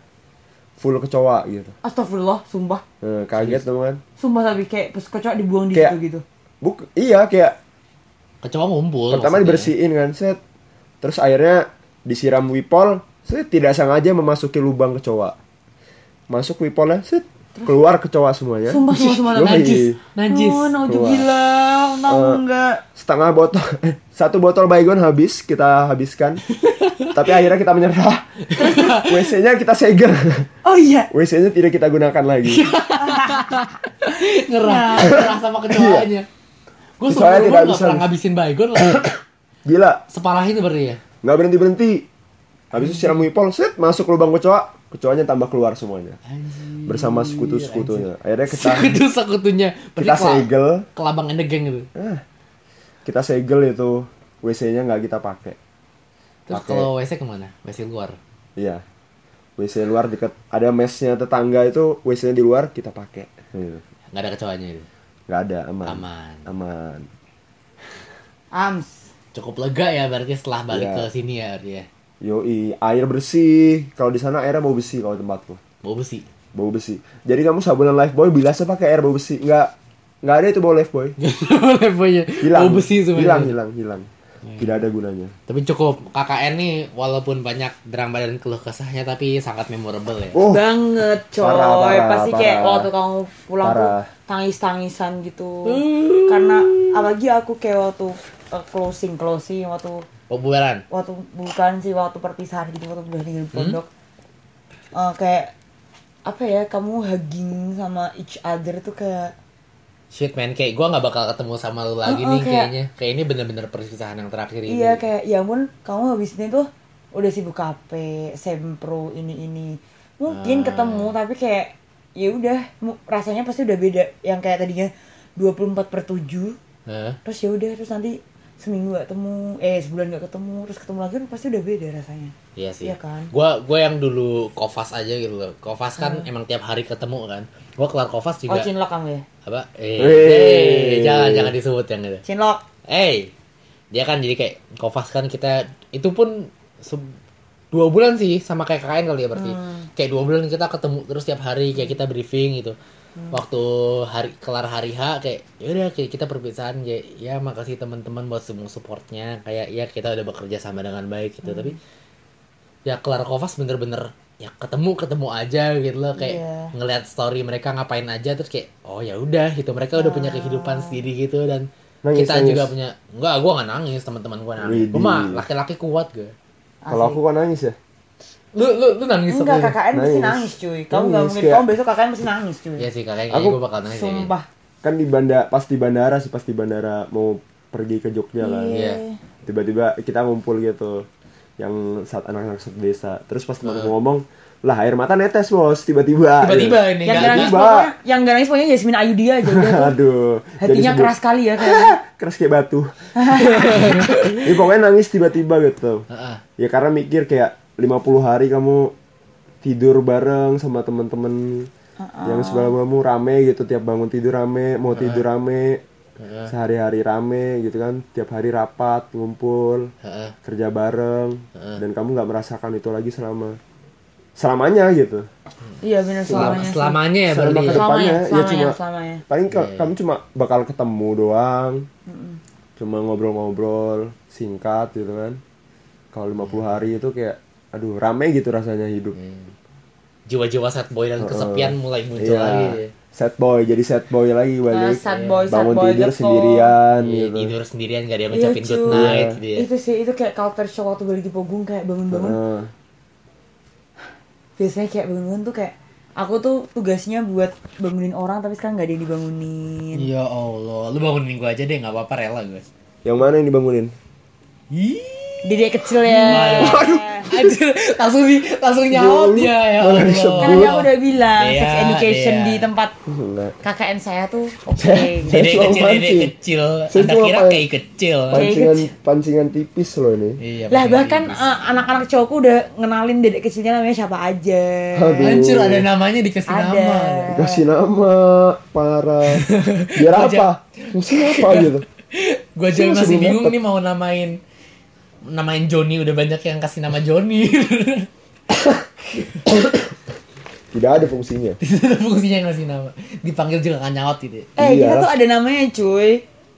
full kecoa gitu. Astagfirullah, sumpah. Eh, kaget dong kan. Sumpah tapi kayak pas kocok dibuang di Kayak- situ gitu. Buk, iya kayak Kecoa ngumpul. pertama maksudnya. dibersihin kan set terus akhirnya disiram wipol set tidak sengaja memasuki lubang kecoa masuk wipolnya set keluar kecoa semuanya Sumpah semua semua Yoi. najis. Najis. Oh, Keluar. gila. Untung Eh, enggak. setengah botol eh, satu botol baygon habis kita habiskan tapi akhirnya kita menyerah wc nya kita segel Oh iya. wc nya tidak kita gunakan lagi Iya. Ngerah, Iya. ngerah sama kecoanya. Gue Kecoanya seumur gue Iya. tidak nggak bisa. pernah ngabisin baygon lah. gila Separah itu berarti ya. nggak berhenti berhenti habis itu siram wipol set masuk ke lubang kecoa kecoanya tambah keluar semuanya Anjir. bersama sekutu sekutunya akhirnya kita Sekutu sekutunya. kita segel Kelabang and the gang gitu. kita segel itu WC-nya nggak kita pakai. Terus Pakai. kalau WC kemana? WC luar. Iya. WC luar deket ada mesnya tetangga itu WC-nya di luar kita pakai. Gitu. Nggak ada kecoanya itu. Nggak ada aman. Aman. Aman. Ams. Cukup lega ya berarti setelah balik Iya. ke sini ya berarti ya. Yoi, air bersih. Kalau di sana airnya bau besi kalau tempatku. Bau besi. Bau besi. Jadi kamu sabunan Lifebuoy bilasnya pakai air bau besi. Nggak nggak ada itu bau Lifebuoy. Levelnya. Hilang. Bau besi Iya. semuanya. Hilang, hilang, hilang. Tidak ada gunanya. Tapi cukup KKN nih walaupun banyak derang badan keluh kesahnya tapi sangat memorable ya. Oh, banget coy Parah, parah, pasti kayak parah. waktu kamu pulang Parah. tuh tangis tangisan gitu karena apalagi aku kayak waktu uh, closing closing waktu Pembubaran. waktu bukan sih waktu perpisahan gitu waktu udah di pondok Eh, kayak apa ya kamu hugging sama each other tuh kayak Shit man, kayak gue nggak bakal ketemu sama lu lagi Uh-uh, nih kayak- kayaknya. Kayak ini bener-bener perpisahan yang terakhir ini. Iya kayak ya ampun kamu habis ini tuh udah sibuk HP, sempro ini ini. Mungkin ketemu tapi kayak ya udah mu- rasanya pasti udah beda yang kayak tadinya 24 per 7 Heeh. terus ya udah terus nanti seminggu gak ketemu eh sebulan gak ketemu terus ketemu lagi pasti udah beda rasanya Iya sih. Iya kan? Gua gua yang dulu Kofas aja gitu loh. Kofas kan emang tiap hari ketemu kan. Gua kelar Kofas Uh-huh. oh juga cinlok kamu ya apa? Eh, Wey. eh, jangan jangan disebut yang gitu. cinlok Eh, dia kan jadi kayak Kofas kan kita itu pun se- dua bulan sih sama kayak KKN kali ya berarti. Kayak dua bulan kita ketemu terus tiap hari kayak kita briefing gitu. Waktu hari kelar hari H kayak yaudah kayak kita perpisahan kayak ya makasih teman-teman buat semua supportnya kayak ya kita udah bekerja sama dengan baik gitu tapi ya kelar Kofas bener-bener ya ketemu ketemu aja gitu loh kayak Iya. ngelihat story mereka ngapain aja terus kayak oh ya udah gitu mereka udah punya kehidupan sendiri gitu dan Nangis, kita nangis. juga punya enggak gua nggak nangis teman-teman gua nangis Widih. gua mah laki-laki kuat gue kalau aku kok nangis ya? lu lu lu nangis enggak apa? KKN mesti Nangis. nangis cuy kamu nggak Nangis, mungkin kayak- kamu besok KKN mesti nangis cuy Iya sih kakaknya Aku- kayaknya gua bakal nangis iya. kayaknya. sumpah Kan di bandara, pas di bandara sih, pas di bandara mau pergi ke Jogja kan. Iya. Tiba-tiba kita ngumpul gitu yang saat anak-anak satu desa. Terus pas teman ngomong, lah air mata netes bos tiba-tiba. Iya. Iya. tiba-tiba ini yang nggak- gak nangis Mbak. pokoknya yang gak nangis pokoknya Yasmin Ayu dia aja udah tuh. Aduh, hatinya sebut- keras sekali ya kayaknya keras kayak batu. Ini pokoknya nangis tiba-tiba gitu. Heeh. Ya karena mikir kayak 50 hari kamu tidur bareng sama temen-temen yang sebelah kamu rame gitu tiap bangun tidur rame, mau tidur rame, sehari-hari rame gitu kan, tiap hari rapat, ngumpul, Heeh. kerja bareng, dan kamu nggak merasakan itu lagi selama selamanya gitu. iya benar Selama- selamanya selamanya ya Selama berarti ke ya? depannya Selamanya, ya selamanya, cuma selamanya. paling ka- kamu cuma bakal ketemu doang. Cuma ngobrol-ngobrol singkat gitu kan. Kalau 50 hari itu kayak aduh rame gitu rasanya hidup. jiwa-jiwa sad boy dan kesepian mulai muncul Iya. lagi ya. Sad boy jadi sad boy lagi Nah, balik. sad boy, sad Bangun boy tidur gitu. sendirian Iya, gitu. tidur sendirian gak ada yang Iya, ngucapin cuy. Iya. good night gitu ya Itu sih, itu kayak culture shock waktu balik di Pogung kayak bangun-bangun. Heeh. Biasanya kayak bangun-bangun tuh kayak aku tuh tugasnya buat bangunin orang tapi sekarang nggak ada yang dibangunin. ya Allah lu bangunin gua aja deh nggak apa-apa rela gue Yang mana yang dibangunin? Dedek kecil ya. Iya. Anjir, langsung di langsung Iya, nyaut ya ya Allah. Kan dia udah bilang Iya, sex education iya. di tempat Enggak. KKN saya tuh oke. gitu. Saya Dede cuma kecil, dede mancing. kecil. Saya Anda cuma kira pan- kayak kecil. Pancingan pancingan tipis loh ini. Iya, lah pakai bahkan tipis. eh, anak-anak cowokku udah ngenalin dedek kecilnya namanya siapa aja. Aduh. Hancur ada namanya dikasih Ada. nama. Kasih nama para biar apa? Musim apa gitu. Gue aja Saya masih masih belum bingung dapet. nih mau namain namain Joni udah banyak yang kasih nama Joni. Tidak ada fungsinya. Itu fungsinya yang ngasih nama. Dipanggil juga kan nyaut gitu. Eh kita Iya. tuh ada namanya cuy.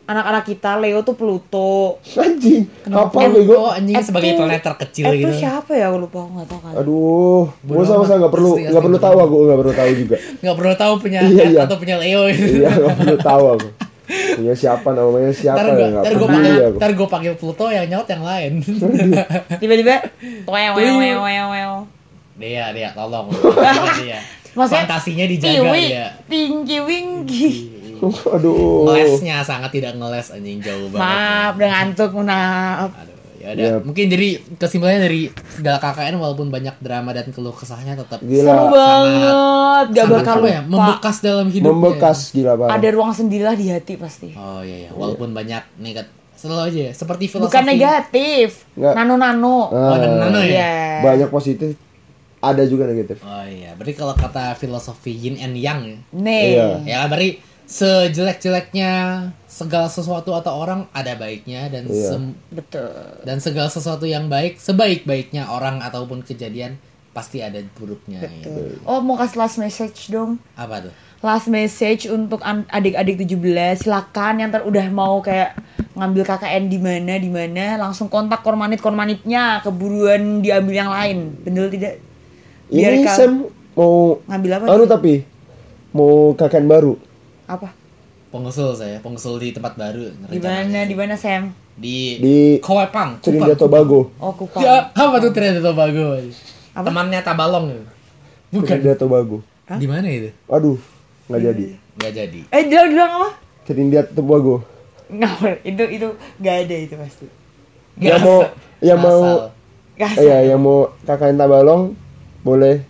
Anak-anak kita Leo tuh Pluto. Anjing, apa Em, bego? Oh anjing Ed sebagai tuh- planet terkecil Ed gitu. tuh siapa ya? Aku lupa, aku gak tau kan. Oh. Aduh, Bodo gua sama sama amat, nggak perlu asli, nggak asli, perlu bodo tahu aku nggak perlu tahu juga. Gak perlu tahu punya Iya, Ed iya. atau punya Leo gitu. Iya nggak perlu tahu aku. Punya siapa namanya siapa Ntar ya gue nggak ntar gue peduli panggil aku. ntar gue panggil Pluto yang nyaut yang lain. Tiba-tiba, weo weo weo weo weo. Dia dia tolong. Dia. Maksudnya, Fantasinya dijaga Kiwi, dia. tinggi winggi. Aduh. Ngelesnya sangat tidak ngeles anjing jauh banget. Maaf, udah ngantuk, maaf. Aduh, ya udah. Yap. Mungkin jadi kesimpulannya dari segala KKN walaupun banyak drama dan keluh kesahnya tetap Gila. Seru banget, gak sangat bakal apa ya, lupa. membekas dalam hidupnya. Membekas gila banget. Ada ruang sendilah di hati pasti. Oh iya, iya. walaupun banyak negatif. Selalu aja ya, seperti filosofi. Bukan negatif, Nggak. Nah, nano-nano. Oh, dan nano ya. Iya. Banyak positif, ada juga negatif. Oh iya, berarti kalau kata filosofi yin and yang ya. Iya. Nih. Ya kan berarti sejelek-jeleknya segala sesuatu atau orang ada baiknya dan Iya. sem- Betul. dan segala sesuatu yang baik sebaik-baiknya orang ataupun kejadian pasti ada buruknya. ya. Oh, mau kasih last message dong. Apa tuh? last message untuk an- adik-adik 17 silakan yang ter udah mau kayak ngambil KKN di mana di mana langsung kontak kormanit kormanitnya keburuan diambil yang lain bener tidak biar Ini kal- Sam mau ngambil apa anu nih? tapi mau kakek baru. apa Pengusul saya, pengusul di tempat baru. di mana rencananya. di mana Sam Di, di... Di Kupang. Trinidad Tobago. oh kupang Ya, apa tuh Trinidad Tobago? Apa? Temannya Tabalong gitu. Bukan. Trinidad Tobago. Di mana itu? Aduh, Iya, nggak jadi. Gak jadi. eh dia bilang apa Trinidad Tobago. nggak itu itu nggak ada itu pasti Yang mau yang mau Asal. Gak eh, ya, yang mau kakak Tabalong boleh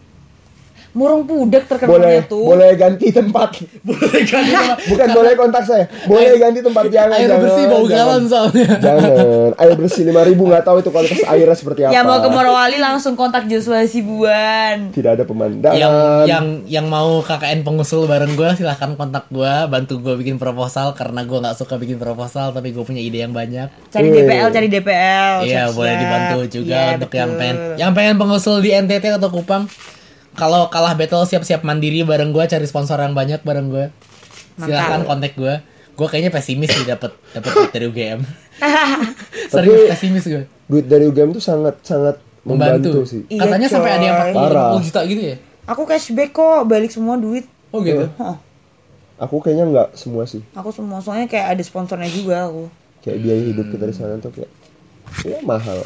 Murung pudak terkenalnya boleh tuh. boleh ganti tempat. Boleh kan? Bukan boleh kontak saya. Boleh ganti tempat jangan. Air jangan, bersih bau jangan. galon soalnya. Jangan. Air bersih 5000 nggak tahu itu kualitas airnya seperti Ya, apa. Yang Ya, mau ke Morowali langsung kontak Joshua Sibuan. Tidak ada pemandangan. yang yang yang mau KKN pengusul bareng gue silahkan kontak gue bantu gue bikin proposal karena gue nggak suka bikin proposal tapi gue punya ide yang banyak Cari Wih. DPL, cari DPL. iya siap-siap. boleh dibantu juga Iya, untuk betul. yang pengen yang pengen pengusul di NTT atau Kupang kalau kalah battle siap-siap mandiri bareng gue cari sponsor yang banyak bareng gue silahkan kontak gue gue kayaknya pesimis sih dapet dapet duit dari UGM serius Tapi- pesimis gue duit dari UGM tuh sangat sangat membantu, membantu sih. Iya, katanya sampai ada yang coy. pakai Parah. 50 juta gitu ya Aku cashback kok, balik semua duit. oh Iya. gitu Hah, Aku kayaknya nggak semua sih. aku semua soalnya kayak ada sponsornya juga aku. Kayak biaya hidup kita di sana tuh kayak ya mahal.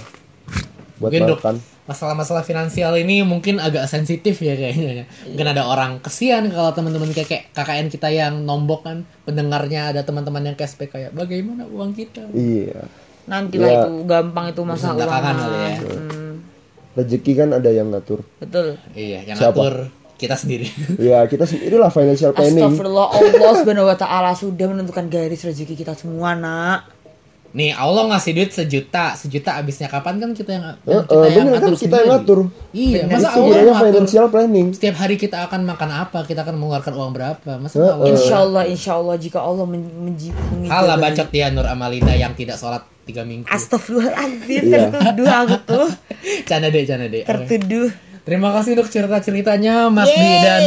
Buat mungkin dok makan. masalah-masalah finansial ini mungkin agak sensitif ya kayaknya ya. mungkin ada orang kesian kalau teman-teman kayak KKN kita yang nombok kan pendengarnya ada teman-teman yang cashback kayak bagaimana uang kita Iya. Nantilah Iya. itu gampang itu masalah Belakangan uang. kali ya. Hmm, Rezeki kan ada yang ngatur. betul. iya yang Siapa? atur kita sendiri Ya kita sendiri lah financial planning. Astagfirullah Allah subhanahu wa ta'ala sudah menentukan garis rezeki kita semua nak nih Allah ngasih duit sejuta sejuta abisnya kapan kan kita yang Ya, kita eh, bener kan kita yang ngatur. iya Itu masa Allah sebenarnya ngatur financial planning. setiap hari kita akan makan apa kita akan mengeluarkan uang berapa masa Heeh. Allah Insya Allah, insya Allah jika Allah men- menji- mengijabah- kalah bacot dia Nur Amalina yang tidak sholat tiga minggu Astagfirullahaladzim, Iya. tertuduh aku tuh, canda deh canda deh Oke. tertuduh. Terima kasih untuk cerita-ceritanya Mas Bi Yeay. dan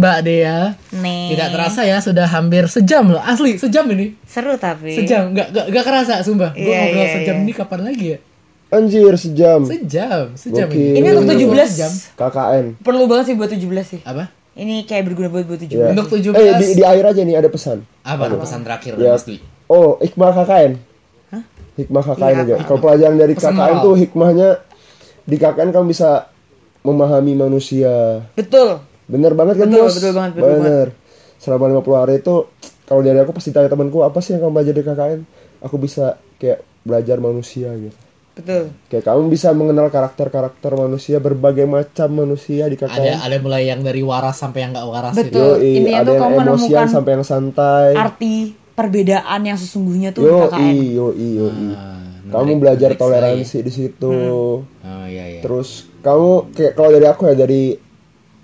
Mbak Dea. Nih, Tidak terasa ya sudah hampir sejam loh. Asli sejam ini. seru tapi. Sejam nggak nggak nggak kerasa sumpah. Gue Iya, ngobrol iya, sejam iya. ini kapan lagi ya? Anjir sejam. Sejam, sejam Gokil. ini. Ini untuk Ngobrol 17 sejam. KKN. Perlu banget sih buat 17 sih. Apa? Ini kayak berguna buat buat 17. Ya. Untuk 17. Eh di, di akhir aja nih ada pesan. Apa tuh pesan terakhir Ya. Mas Dwi? Oh, hikmah KKN. Hah? Hikmah KKN Iya, aja. apa? Kalau pelajaran dari Pesan KKN moral. tuh hikmahnya di KKN kamu bisa memahami manusia. Betul. Bener banget kan, Betul, Bos? betul banget, betul Bener. Selama 50 hari itu kalau dari aku pasti tanya temanku apa sih yang kamu belajar di KKN? Aku bisa kayak belajar manusia gitu. Betul. Kayak kamu bisa mengenal karakter-karakter manusia, berbagai macam manusia di KKN. Ada ada mulai yang dari waras sampai yang nggak waras Betul. gitu. Yoi, Intinya ada tuh yang kamu emosian menemukan sampai yang santai. Arti perbedaan yang sesungguhnya tuh kan? di KKN. Yoi, yoi, yoi. Ah, Kamu menarik, belajar menarik sekali. toleransi di situ. Hmm. Oh iya iya. Terus kamu kayak kalau dari aku ya dari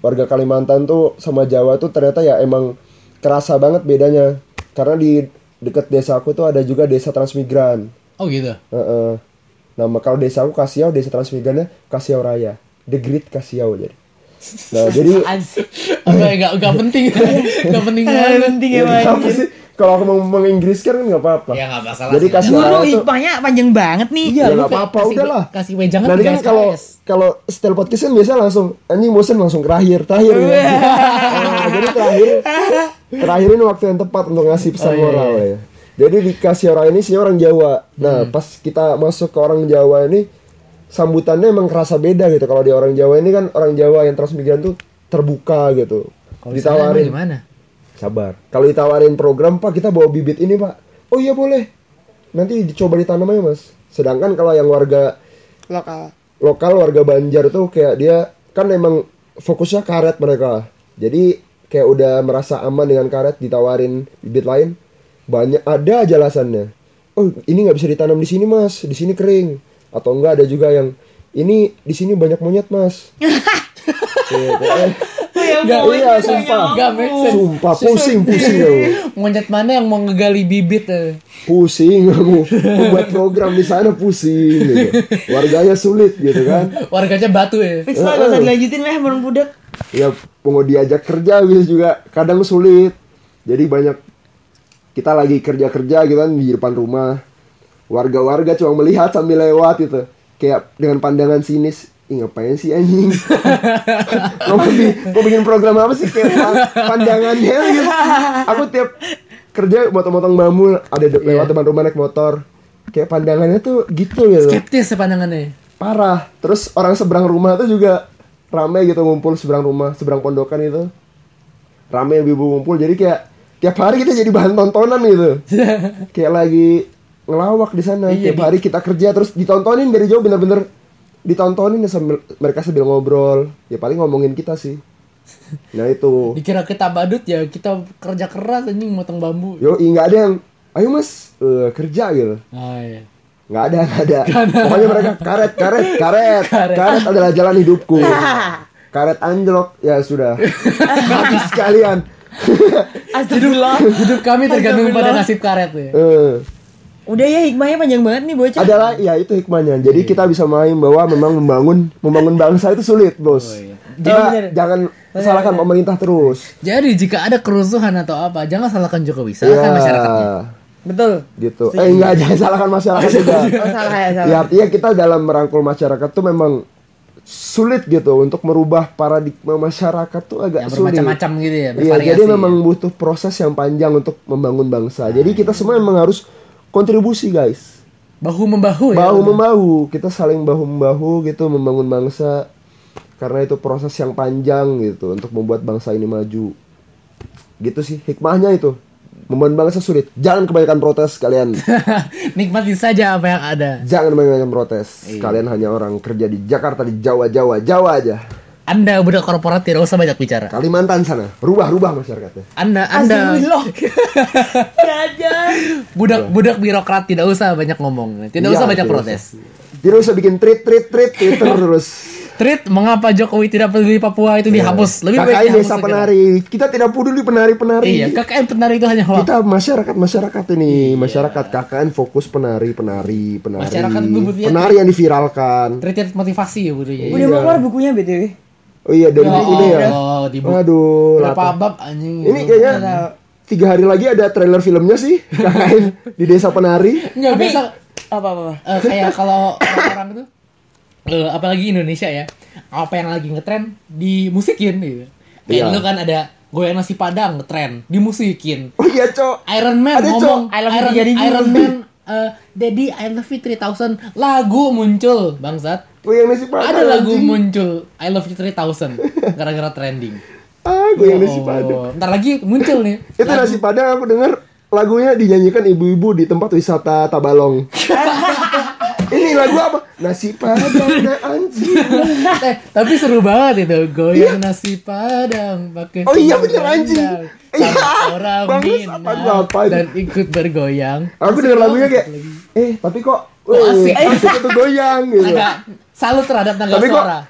warga Kalimantan tuh sama Jawa tuh ternyata ya emang kerasa banget bedanya. Karena di deket desa aku tuh ada juga desa transmigran. Oh gitu. Heeh. Nah, ma- kalau desa aku Kasiau, desa transmigrannya Kasiau Raya. The Great Kasiau jadi. Nah, jadi Asik. Enggak enggak enggak penting. Enggak penting banget. Penting ya, Bang. Iya, apa sih? Kalau aku mau menginggriskan kan nggak apa-apa. Ya nggak masalah. Jadi sih. kasih Guru orang Iya, itu- ipanya panjang banget nih. ya lu nggak kayak apa-apa kasih- udahlah. kasih wejangan Nanti tiga kan kalau SKS. kalau style podcast kan biasa langsung anjing bosen langsung terakhir terakhir ya. Iya. Nah, jadi terakhir terakhir ini waktu yang tepat untuk ngasih Oh, pesan iya, moral ya. Jadi dikasih orang ini sih orang Jawa. Nah Hmm. pas kita masuk ke orang Jawa ini sambutannya emang kerasa beda gitu. Kalau di orang Jawa ini kan orang Jawa yang transmigran tuh terbuka gitu. Kalau di ya. sana emang ditawarin gimana? Sabar. Kalau ditawarin program, Pak, kita bawa bibit ini, Pak. Oh iya boleh. Nanti dicoba ditanam aja, Mas. Sedangkan kalau yang warga Lokal. lokal, warga Banjar tuh kayak dia kan emang fokusnya karet mereka. Jadi kayak udah merasa aman dengan karet ditawarin bibit lain. Banyak ada aja alasannya. Oh, ini nggak bisa ditanam di sini, Mas. Di sini kering. Atau enggak ada juga yang ini di sini banyak monyet, Mas. Iya, kayak- Nggak, iya, sumpah. Gak make sense. Sumpah pusing, pusing aku. Ngoncat mana yang mau ngegali bibit? eh? pusing aku buat program di sana pusing gitu. warganya sulit gitu kan Warganya batu ya. Iya. Fix lah, gak usah dilanjutin lah, menurut budak. ya mau diajak kerja bisa juga kadang sulit jadi banyak kita lagi kerja-kerja gitu kan di depan rumah warga-warga cuma melihat sambil lewat gitu kayak dengan pandangan sinis Ih, ngapain sih anjing mau, bi- mau bikin program apa sih kayak pa- pandangannya gitu aku tiap kerja motong-motong bambu ada de- lewat depan rumah naik motor kayak pandangannya tuh gitu gitu Skeptis ya pandangannya. parah terus orang seberang rumah tuh juga rame gitu ngumpul seberang rumah seberang pondokan itu rame ibu ngumpul jadi kayak tiap hari kita jadi bahan tontonan gitu kayak lagi ngelawak di sana Iya, tiap di- hari kita kerja terus ditontonin dari jauh bener-bener ditontonin ya sambil mereka sambil ngobrol ya paling ngomongin kita sih nah itu Dikira kita badut ya, kita kerja keras anjing motong bambu. yo nggak ada yang ayo mas eh, kerja gitu Ah iya. nggak ada nggak ada pokoknya mereka karet karet karet karet, adalah jalan hidupku karet anjlok ya sudah habis kalian Astagfirullah. Hidup kami tergantung pada nasib karet ya. Eh, Udah ya hikmahnya panjang banget nih bocah. adalah ya itu hikmahnya jadi kita bisa main bahwa memang membangun membangun bangsa itu sulit bos Oh, iya. Kita Bener. jangan salahkan pemerintah terus Jadi jika ada kerusuhan atau apa, jangan salahkan Jokowi, Iya. salahkan masyarakatnya. ya Betul. gitu eh enggak jangan salahkan masyarakat juga Oh, salah ya salah. ya artinya kita dalam merangkul masyarakat tuh memang sulit gitu untuk merubah paradigma masyarakat tuh agak Yang sulit bermacam-macam gitu ya, Nah, Iya, bervariasi. jadi memang butuh proses yang panjang untuk membangun bangsa. jadi iya, kita semua memang harus kontribusi, guys. bahu membahu ya. Bahu membahu, kita saling bahu membahu gitu membangun bangsa. Karena itu proses yang panjang gitu untuk membuat bangsa ini maju. Gitu sih hikmahnya itu. Membangun bangsa sulit. Jangan kebanyakan protes kalian. Nikmati saja apa yang ada. Jangan kebanyakan protes. Iya. Kalian hanya orang kerja di Jakarta, di Jawa, Jawa, Jawa aja. Nah. Anda budak korporat tidak usah banyak bicara. Kalimantan sana, rubah-rubah masyarakatnya. Anda Anda Astagfirullah. Belajar. budak budak birokrat tidak usah banyak ngomong, tidak Iya, usah banyak tidak protes. Tidak usah bikin tweet, tweet, tweet, Twitter terus. Tweet mengapa Jokowi tidak peduli Papua Iya. itu dihapus. Lebih baik KKN dihapus desa segera. penari. Kita tidak peduli penari-penari. Iya, KKN penari itu hanya hoax. Kita masyarakat masyarakat ini, masyarakat KKN fokus penari, penari, penari. Masyarakat itu butuh- penari yang diviralkan. Retreat motivasi ya butuhnya. Udah Iya. mau keluar bukunya BTW. Oh iya, dari ini ya. Oh, di buku Aduh, berapa lata. bab anjing. Ini kayaknya tiga hari lagi ada trailer filmnya sih KKN di desa penari. Nggak, biasa Apa apa apa. eh, kayak kalau orang-orang itu eh, apalagi Indonesia ya. Apa yang lagi ngetren dimusikin gitu. Kayak Iya. dulu kan ada goyang nasi Padang ngetren dimusikin. Oh iya, Cok. Iron Man Ada, ngomong Cok. I love you Iron, jadi Iron gitu. Man eh, Daddy I love you 3000 lagu muncul bangsat. Goyang nasi padang. Ada lagu anjing. muncul I love you 3000 gara-gara trending. Ah, goyang nasi Oh, padang. ntar lagi muncul nih. Itu nasi padang aku dengar lagunya dinyanyikan ibu-ibu di tempat wisata Tabalong. Ini lagu apa? Nasi padang dan anjing. Eh, tapi seru banget itu goyang nasi padang pakai Iya. Oh iya, sambal bener, anjing. rendang. Iya, Sama orang bagus, Minang apa-apa itu. dan ikut bergoyang Aku denger lagunya kayak eh tapi kok eh, asik itu goyang gitu. Oh, agak salut terhadap tangga Tapi Iya. kok- suara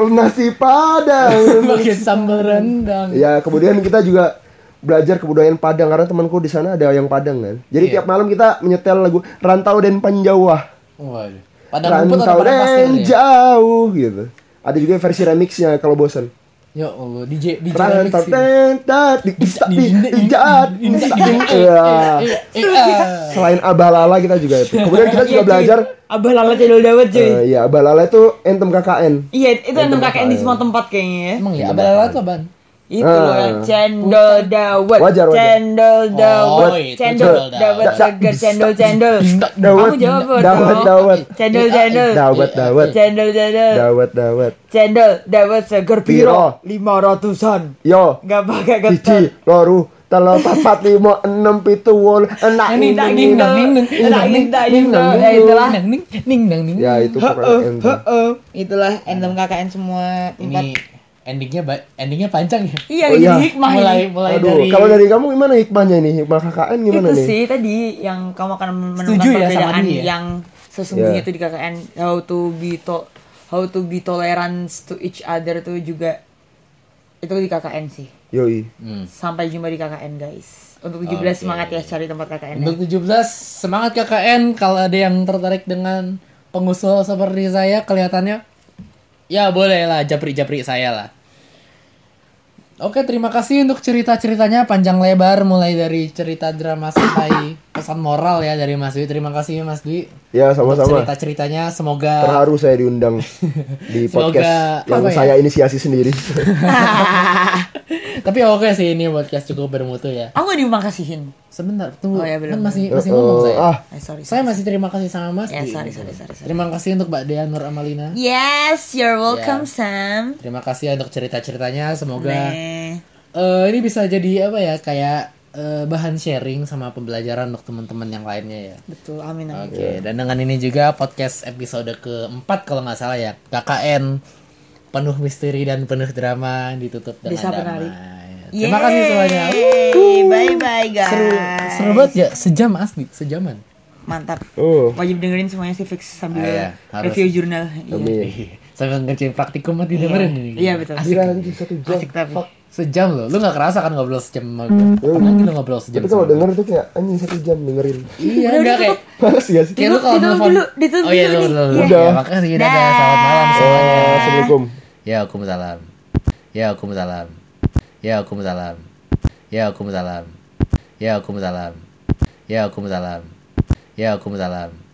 Nasi padang. pakai sambal rendang ya, kemudian kita juga belajar kebudayaan Padang karena temanku di sana ada yang Padang kan. Jadi Iya. tiap malam kita menyetel lagu Rantau dan Panjawa. waduh padang rumput atau Rantau padang pasir dan ya jauh gitu. Ada juga versi remixnya kalau bosan. ya allah DJ DJ remix Rantau ini. dan di di di jahat, di- di- Eh, Iya. eh, eh. Selain abalala kita juga itu. Kemudian kita Iya, juga cuy. belajar Abah Lala Cendol Dawet cuy. eh, ya abalala itu entem KKN. Iya, itu enam KKN di KKN. semua tempat kayaknya ya. Iya, emang ya abal-abal tuh ban Itu Ah. loh, cendol dawet. Wajar, wajar. Cendol dawet. Oh, itu Cendol cendol dawet dawet. seger cendol cendol. Dawet, Kamu jawab apa dawet, dong? dawet, Cendol cendol. dawet, dawet, Cendol cendol. dawet, dawet. Cendol dawet seger piro Piro. 500-an. Yo, Enggak pakai getar. cici, loru, telo, papat, limo, enam, pitu, wol, enak, Ning ini, dang ini. ning dang ning dang ning dang ning dang ning dang Ya, itulah. ning ning dang ning. Ya itu Uh, pokoknya entem. Heeh, itulah endem KKN semua Ini tempat. endingnya ba- endingnya panjang ya. Iya, Oh, ini iya. hikmah ini. Mulai mulai Aduh, dari kalau dari kamu gimana hikmahnya ini? Hikmah KKN gimana itu nih? sih tadi yang kamu akan menemukan Setuju ya sama perbedaan dia ya? yang sesungguhnya Iya. itu di KKN how to be to how to be tolerance to each other tuh juga itu di KKN sih Yoi. Hmm. sampai jumpa di KKN guys untuk 17 semangat ya cari tempat KKN Untuk 17 semangat KKN kalau ada yang tertarik dengan pengusul seperti saya kelihatannya ya boleh lah japri-japri saya lah. Oke, terima kasih untuk cerita-ceritanya panjang lebar mulai dari cerita drama sampai pesan moral ya dari Mas Dwi. Terima kasih Mas Dwi. Ya sama-sama. Cerita-ceritanya semoga Terharu saya diundang di Semoga- podcast yang apa ya? saya inisiasi sendiri. tapi oke sih ini podcast cukup bermutu ya. Aku nggak dimakasihin. Sebentar, tunggu. Oh, ya, Kan belum. masih masih ngomong ya? saya. Ah, Eh, sorry. Saya masih terima kasih sama Mas Ya, Dwi. sorry, sorry, sorry, Iya. sorry. Terima kasih untuk Mbak Dea Nur Amalina. Yes, you're welcome, Ya. Sam. Terima kasih untuk cerita-ceritanya. Semoga Nih. eh, ini bisa jadi apa ya kayak eh, bahan sharing sama pembelajaran untuk teman-teman yang lainnya ya. Betul, amin. amin. Oke, dan dengan ini juga podcast episode keempat kalau nggak salah ya KKN penuh misteri dan penuh drama ditutup dengan Desa damai. penari. Terima kasih semuanya. Bye bye guys. Seru, seru banget ya sejam asli sejaman. Mantap. Oh, Wajib dengerin semuanya sih fix sambil Ah, iya, harus. review jurnal. Iya. amin. Sambil ngerjain praktikum mah dengerin ini. Iya betul. Gila anjing satu jam. Asik tapi. Fuck, sejam loh. Lu nggak kerasa kan ngobrol sejam sama gue? Apalagi lu ngobrol sejam Hmm. Tapi kalau sama gue? denger tuh kayak anjing satu jam dengerin. Iya, udah kayak Males ya sih. kayak lu kalau Ditutup nelfon. dulu, ditutup Oh iya, dulu dulu, nih. dulu. Iya. Ya, Udah. makasih dadah. Selamat malam semuanya. Eh, Assalamualaikum. Ya aku salam. Ya aku salam. Ya aku salam. Ya aku salam. Ya aku salam. Ya aku salam. Ya aku salam.